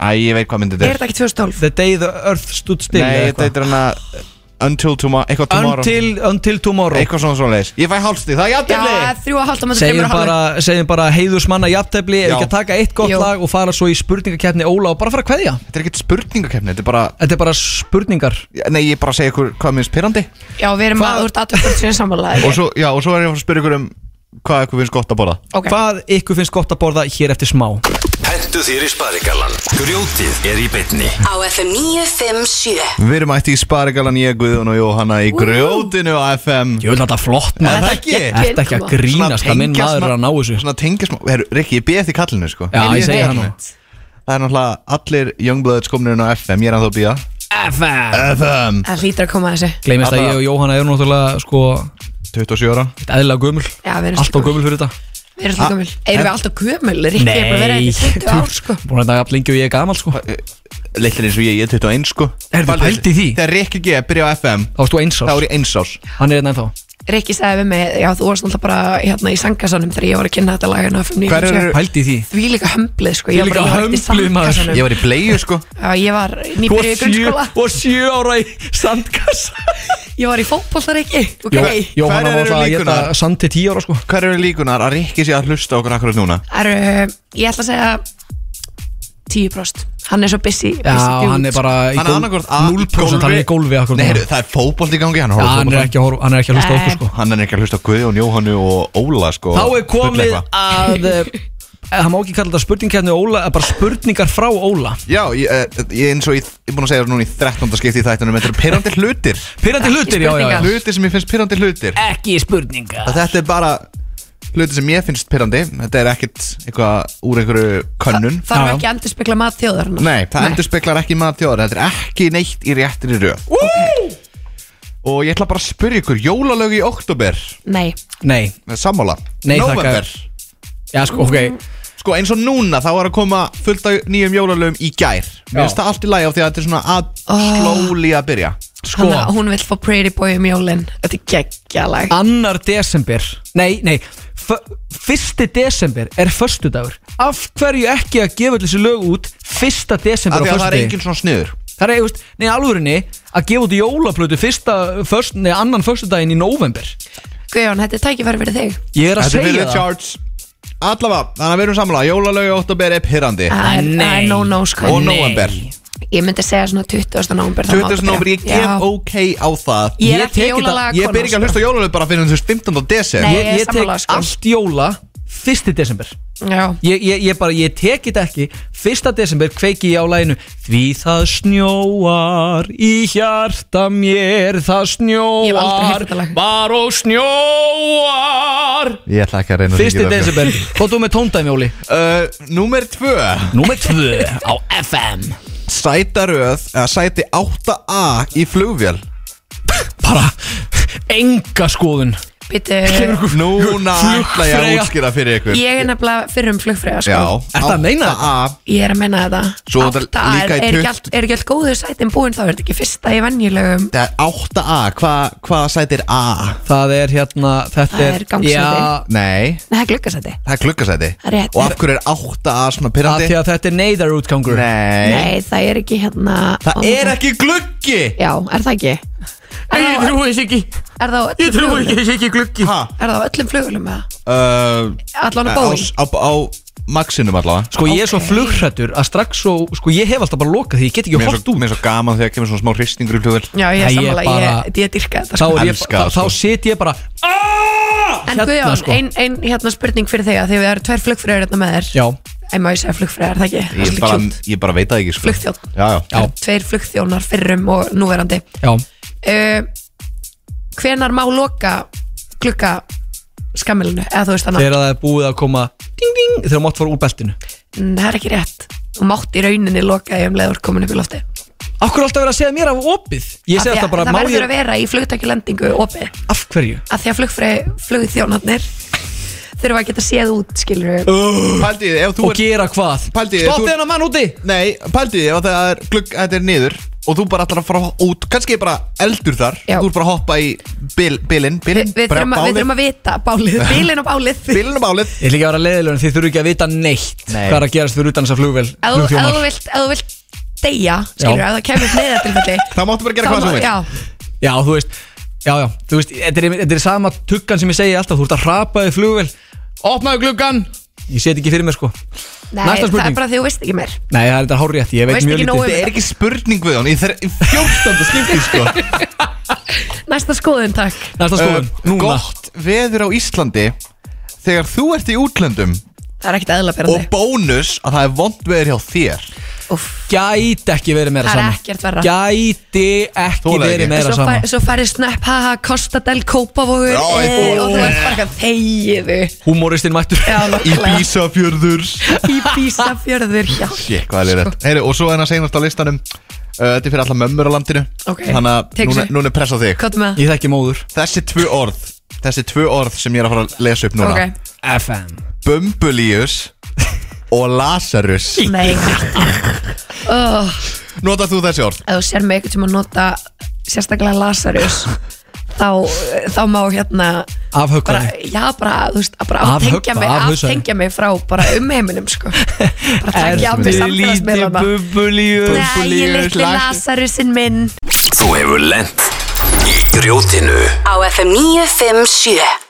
B: Æ, ég veit hvað myndi þetta
G: Er þetta ekki 2012?
A: The Day the Earth Stood Still
B: Nei,
A: eða
B: þetta heitir
A: eitthvað?
B: hann að Until tomorrow, eitthvað tomorrow
A: Until, until Tomorrow
B: Eitthvað svona svona leis Ég fæ hálfstíð, það er játefni
G: Já, þrjú að halda maður
A: Segjum bara, segjum bara heiðusmanna jafntefli Ef
B: Já.
A: ekki að taka eitt gott
G: Jú.
A: lag og fara svo í spurningakeppni Óla og bara fara að kveðja
B: Þetta er ekkert spurningakefni, þetta er bara
A: Þetta er bara spurningar
B: Nei, ég er bara að segja ykkur hvað minnst pyrrandi
G: Já, við erum að, þú ert aðtökkur sinni samanlega
B: og, svo- já, og svo er ég að fara að spyrja ykkur um hvað ykkur finnst gott að borða
G: Ok.
A: Hvað ykkur finnst gott að borða hér eftir smá
D: Hentu þér í sparigallan Grjótið er í bytni
E: á FM 957
B: Við erum ætti í Sparigalan, ég, Guðun og Jóhanna í grjótinu á FM
A: Ég vil þetta flott
B: Er
A: maður
B: það ekki?
A: Þetta ekki að grínast að minn maður er að ná þessu
B: Svona tengjasmá Herru, Rikki, ég beði því kallinu sko
A: Já, ég segi það nú
B: Það er náttúrulega allir Youngbloods komnirinn á FM Ég er að þá býja
A: FM
B: FM
G: Það hlýtur að koma að þessu
A: Gleimist að ég og Jóhanna eru náttúrulega sko
B: 27 ára
A: eitt eðlilega gömul
G: Já, við erum sko-
A: Allt á gömul fyrir þetta
G: Við erum alltaf gömul Erum við alltaf gömul? Rikki er bara verið í 20 ár sko
A: Búin að daga lengi og ég er gamal sko
B: Lillir eins og ég, ég er 21 sko
A: Er það pælt í því?
B: Þegar Rikki G byrja á FM
A: Þá varst þú eins
B: Þá
A: ás
B: er ég eins ás
A: Hann er einn ennþá
G: Rikki sagði við mig Já, þú varst alltaf bara hérna í sangasanum þegar ég var að kynna þetta lagana
B: Hver eru-
A: Pælt í því
G: Því líka hömblið sko Ég var bara
A: Þvílíka
G: ég var ekkert í
A: hömblið, maður.
G: Sandkassanum.
B: Ég var í bleiðu sko
G: Já, ég var
A: Þú
G: nýbyrjuð í
A: varst sjö,
G: grunnskóla
A: og sjö ára í sandkassa
G: Ég var í fótbollar ekki Ok
A: Jó- Jóhanna
B: Hverjar
A: var
B: eru
A: alltaf að geta
B: líkurnar?
A: sand til tíu ára sko
B: Hver eru líkunar að Rikki sé að hlusta á okkur akkurat núna?
G: Eru, Ég ætla að segja 10% Hann er svo busy
A: Já, hann er bara í
B: Hann er
A: gól-
B: annarkvort að-
A: 0% hann er í gólfi akkur
B: Nei,
A: núna.
B: heyrðu, það er fótbolt í gangi Hann
A: Já,
B: horfir á
A: hann er
B: fótbolta.
A: ekki að horfa- hann er ekki að hlusta á okkur
G: Nei.
A: sko
B: Hann er ekki að hlusta á Guðjón, Jóhannu og Óla sko
A: Þá er
B: Bulla
A: komið
B: eitthvað.
G: (laughs)
A: að eh, Það má ekki kalla þetta spurningkjarni Óla eh, Bara spurningar frá Óla
B: Já, ég, eh, ég eins og ég, ég er búin að segja það núna í 13. skipti í þættunum Þetta eru pyrrandi hlutir
A: Pyrrandi hlutir, já, já, já
B: Hlutir sem ég finnst pyrrandi hlutir
A: Ah. Ekki spurningar
B: að Þetta er bara hlutir sem ég finnst pyrrandi Þetta er ekkert eitthvað úr einhverju könnun
G: Það
A: Já,
G: er
A: já.
G: ekki að endur spekla mat þjóðar
B: Nei, það endur speklar ekki maður þjóðar Þetta er ekki neitt í réttri röð Og ég ætla bara að spyrja ykkur Jólalög í oktober
G: Nei
A: Nei,
B: Sammála
A: Nei, þakka.
B: Nóvember
A: já, sko, ok
B: Sko eins og núna þá er að koma fullt af nýjum jólalögum í gær
A: Já. Ah.
B: Mér finnst það allt í lagi á því að þetta er svona að slóli að byrja
A: Sko,
G: Hann, hún vill fá Pretty Boy um jólin Þetta er geggjalag
A: annar desember Nei, nei f- Fyrsti desember er föstudagur Af hverju ekki að gefa öll þessi lög út Fyrsta
B: Af
A: desember
B: því að það
A: á
B: er
A: föstudegi
B: enginn svona sniður
A: Það er eigust, nei alvörinni Að gefa út jólaplötu fyrsta föst, Nei, annan föstudaginn í november
G: Guðjón, þetta er tækifæri fyrir þig
A: Ég er
B: Þetta
A: að
B: er
A: segja
B: fyrir
A: það
B: Charles Allavega, þannig að við erum samlega Jólalög í oktober er pyrrandi
G: Það er- það er no no
K: Ah,
G: sko
B: Og november
G: Ég myndi segja svona 20. november það má
B: 20.
G: þetta
B: november, ég
G: byrja.
B: gef
G: Já.
B: ok á það
G: Ég
A: Ég
G: er ekki
A: tek þetta-
G: jólalaga
B: Ég byrja ekki að hlusta á jólalög bara fyrir þessu 15.
G: Nei.
B: desember
A: Ég,
G: Ég er
A: ég tek
G: sammála, sko.
A: allt jóla Fyrsti desember
G: Já
A: Ég, ég, ég bara, ég tek þetta ekki Fyrsta desember kveiki ég á læginu Því það snjóar Í hjarta mér Það
G: Ég hef aldrei
A: snjóar
G: heyrt þetta lag.
A: Var og snjóar
B: Ég ætla ekki að reyna
A: Fyrsti desember Hvað þú með tóndæmi, Óli?
B: uh, Númer 2
A: Númer 2 á FM
B: Sætaröð, eða sæti 8A í flugvél
A: Bara Enga skoðun
G: Býtu
B: Núna ætla ég að
A: Flugfreyja.
B: útskýra fyrir ykkur
G: Ég er nefnilega fyrir um flugfræða sko
B: Já
A: Ertu að meina þetta?
B: 8A,
G: Ég er að menna þetta
B: Svo þetta
G: Átta er-
B: líka í
G: er, ekki
B: 20
G: allt- er ekki allt góðu sætin búin þá er þetta ekki fyrsta í venjulegum
B: Það er 8A, hvað hva sæti er A?
A: Það er hérna Þetta
G: Það
A: er,
G: er gangsæti.
B: Nei,
A: Já,
G: Nei, það er glukkasæti
B: það er klukkasæti
G: Rétt.
B: Og af hverju er 8A svona
A: að
B: pyrrandi?
A: því að þetta er neyðarútgangur
B: Nei
G: Nei, það er ekki hérna
B: Það er ekki gluggi
G: Já, er það ekki? Er það,
A: trúi þess ekki
G: er það, á öllum flugvélum?
A: þess ekki gluggi
B: Ha?
G: er það á öllum flugulum eða?
B: Uh,
G: Allan á
B: á,
G: bóðum?
B: á, á maxinum allavega
A: Sko ég er svo
G: Ok.
A: flugrættur að strax svo Sko ég hef alltaf bara lokað því Ég get ekki
B: Mér er
A: hort
B: svo,
A: út
B: mér er svo gaman þegar kemur svona smá hristingur í flugvél
G: Já,
A: Nei,
G: ég er
A: ég
G: sammála, ég,
A: bara-
G: ég, ég dyrka þetta
A: Þá, er ég,
B: Elska það,
A: þá, þá
B: sko.
A: sit ég bara
G: En
A: Hérna,
G: Guðjón,
A: sko.
G: ein, ein hérna spurning fyrir þig að því við erum tvær flugfræðar hérna með þér
A: Já,
G: Ég má ég segja flugfræðar, það ekki?
B: Ég
G: Svolítið
B: bara,
G: kjút.
B: ég bara veit það ekki sko.
G: Flugþjónn.
B: Já, já
A: já,
G: Tveir flugþjónar fyrrum og núverandi
A: já
K: Eh,
G: uh, Hvenar má loka glugga skammilinu? Eða þú veist þannig,
A: Þegar það er búið að koma ding, ding, Þegar mátt fara úr beltinu
K: Mm,
G: það er ekki rétt Þú mátt í rauninni loka því um leiður komin upp í lofti
A: Akkur er alltaf verið að segja mér af opið Ég
G: Af
A: segi
G: því
A: alltaf
G: að
A: bara
G: Það
A: má
G: verður
A: ég
G: að vera í flugtækjulendingu opið
A: Af hverju?
G: að því að flugfræði flugþjónarnir
K: þurfa að geta séð út, skilur við
B: Paldið, ef þú
A: Og gera hvað?
B: Paldið,
A: Stoppið hennar mann úti
B: Nei, paldið, ef það er glugg, þetta er niður Og þú bara ætlar að fara út Kannski er bara eldur þar
K: Já.
B: Þú er bara að hoppa í bil, bilin Bilin,
K: Við
B: bara
K: þurfum að, við þurfum að vita bálið,
A: (laughs)
K: bílinn og bálið
B: Bílinn og bálið
A: Ég ætla ekki að vera leiðilegur en þið þurfu ekki að vita neitt
B: Nei.
A: Hvað er að gerast fyrir utan þessa flugvél
K: Ef þú- ef þú
A: flugþjónar.
K: vilt, ef þú vilt deyja, skilur við,
A: Já.
K: ef það kemur upp
A: (laughs)
K: neyðartilfelli
B: Þá máttu bara gera
K: þá
B: hvað
K: má-
B: sem þú vilt.
K: Já,
A: Já, þú veist Já, já, þú veist, þetta er, þetta er sama tuggan sem ég segi alltaf Þú ert að hrapa þig flugvél Opnaðu gluggan Ég set ekki fyrir mér sko
K: nei,
A: Næsta
K: það
A: spurning.
K: er bara því þú veist ekki meir
A: Nei, það er þetta hárrétt, ég veit
K: Veist
A: mjög
K: ekki nógu
A: lítið
K: um
B: Þetta er ekki spurning við hann Í þre- í 14. skipti sko
K: (laughs) Næsta skoðun, takk
A: Næsta
K: Sko,
A: skoðun,
B: Eh,
A: sko, núna
B: Gott veður á Íslandi Þegar þú ert í útlöndum
K: Það er ekkert
B: Og
K: eðlaberandi
B: bónus að það er vond veður hjá þér
A: Gæti ekki verið meira
K: Það er
A: saman
K: ekkert verra.
A: Gæti ekki
B: Þola ekki.
A: verið meira
K: Svo, fær,
A: saman
K: svo færið snöpp, haha, Costa del Kópavogur
B: Já,
K: eh,
B: ég-
K: Og þú ert bara eitthvað þegiðu
A: Húmóristinn mættur
K: Já, nákvæmlega
B: Ísafjörður
K: Í Bísafjörður, já
B: Shit, hvað er
K: Sko.
B: rétt Heyri, Og svo hennar segnast á listanum uh, Þetta er fyrir alla mömmur á landinu
K: Ok,
B: Þannig að
K: tekur
B: núna,
K: sig.
B: núna er press á þig
K: Kottu með
A: (laughs) Ég þekki móður
B: Þessi tvö orð Þessi tvö orð sem ég er að fara að lesa upp
K: það
B: núna
K: Ok,
A: FM
B: Bumbulius og
K: (laughs)
B: Lazarus
K: nei oh,
B: Notar þú þessi orð?
K: Ef þú sér mig eitthvað sem að nota sérstaklega Lazarus
G: (laughs)
K: þá, þá má hérna bara,
A: Afhöggvaði
K: já, bara, þú veist, að bara aftengja
A: Afhöggva,
K: mig,
A: afhausaði.
K: aftengja mig frá bara umheiminum, sko bara takja af mig
A: Ertu lítið
K: samfélagsmiðlana
A: bubbulíu
K: Nei, ég litli Lazarusinn minn
M: Þú hefur lent í grjótinu
E: á FM 957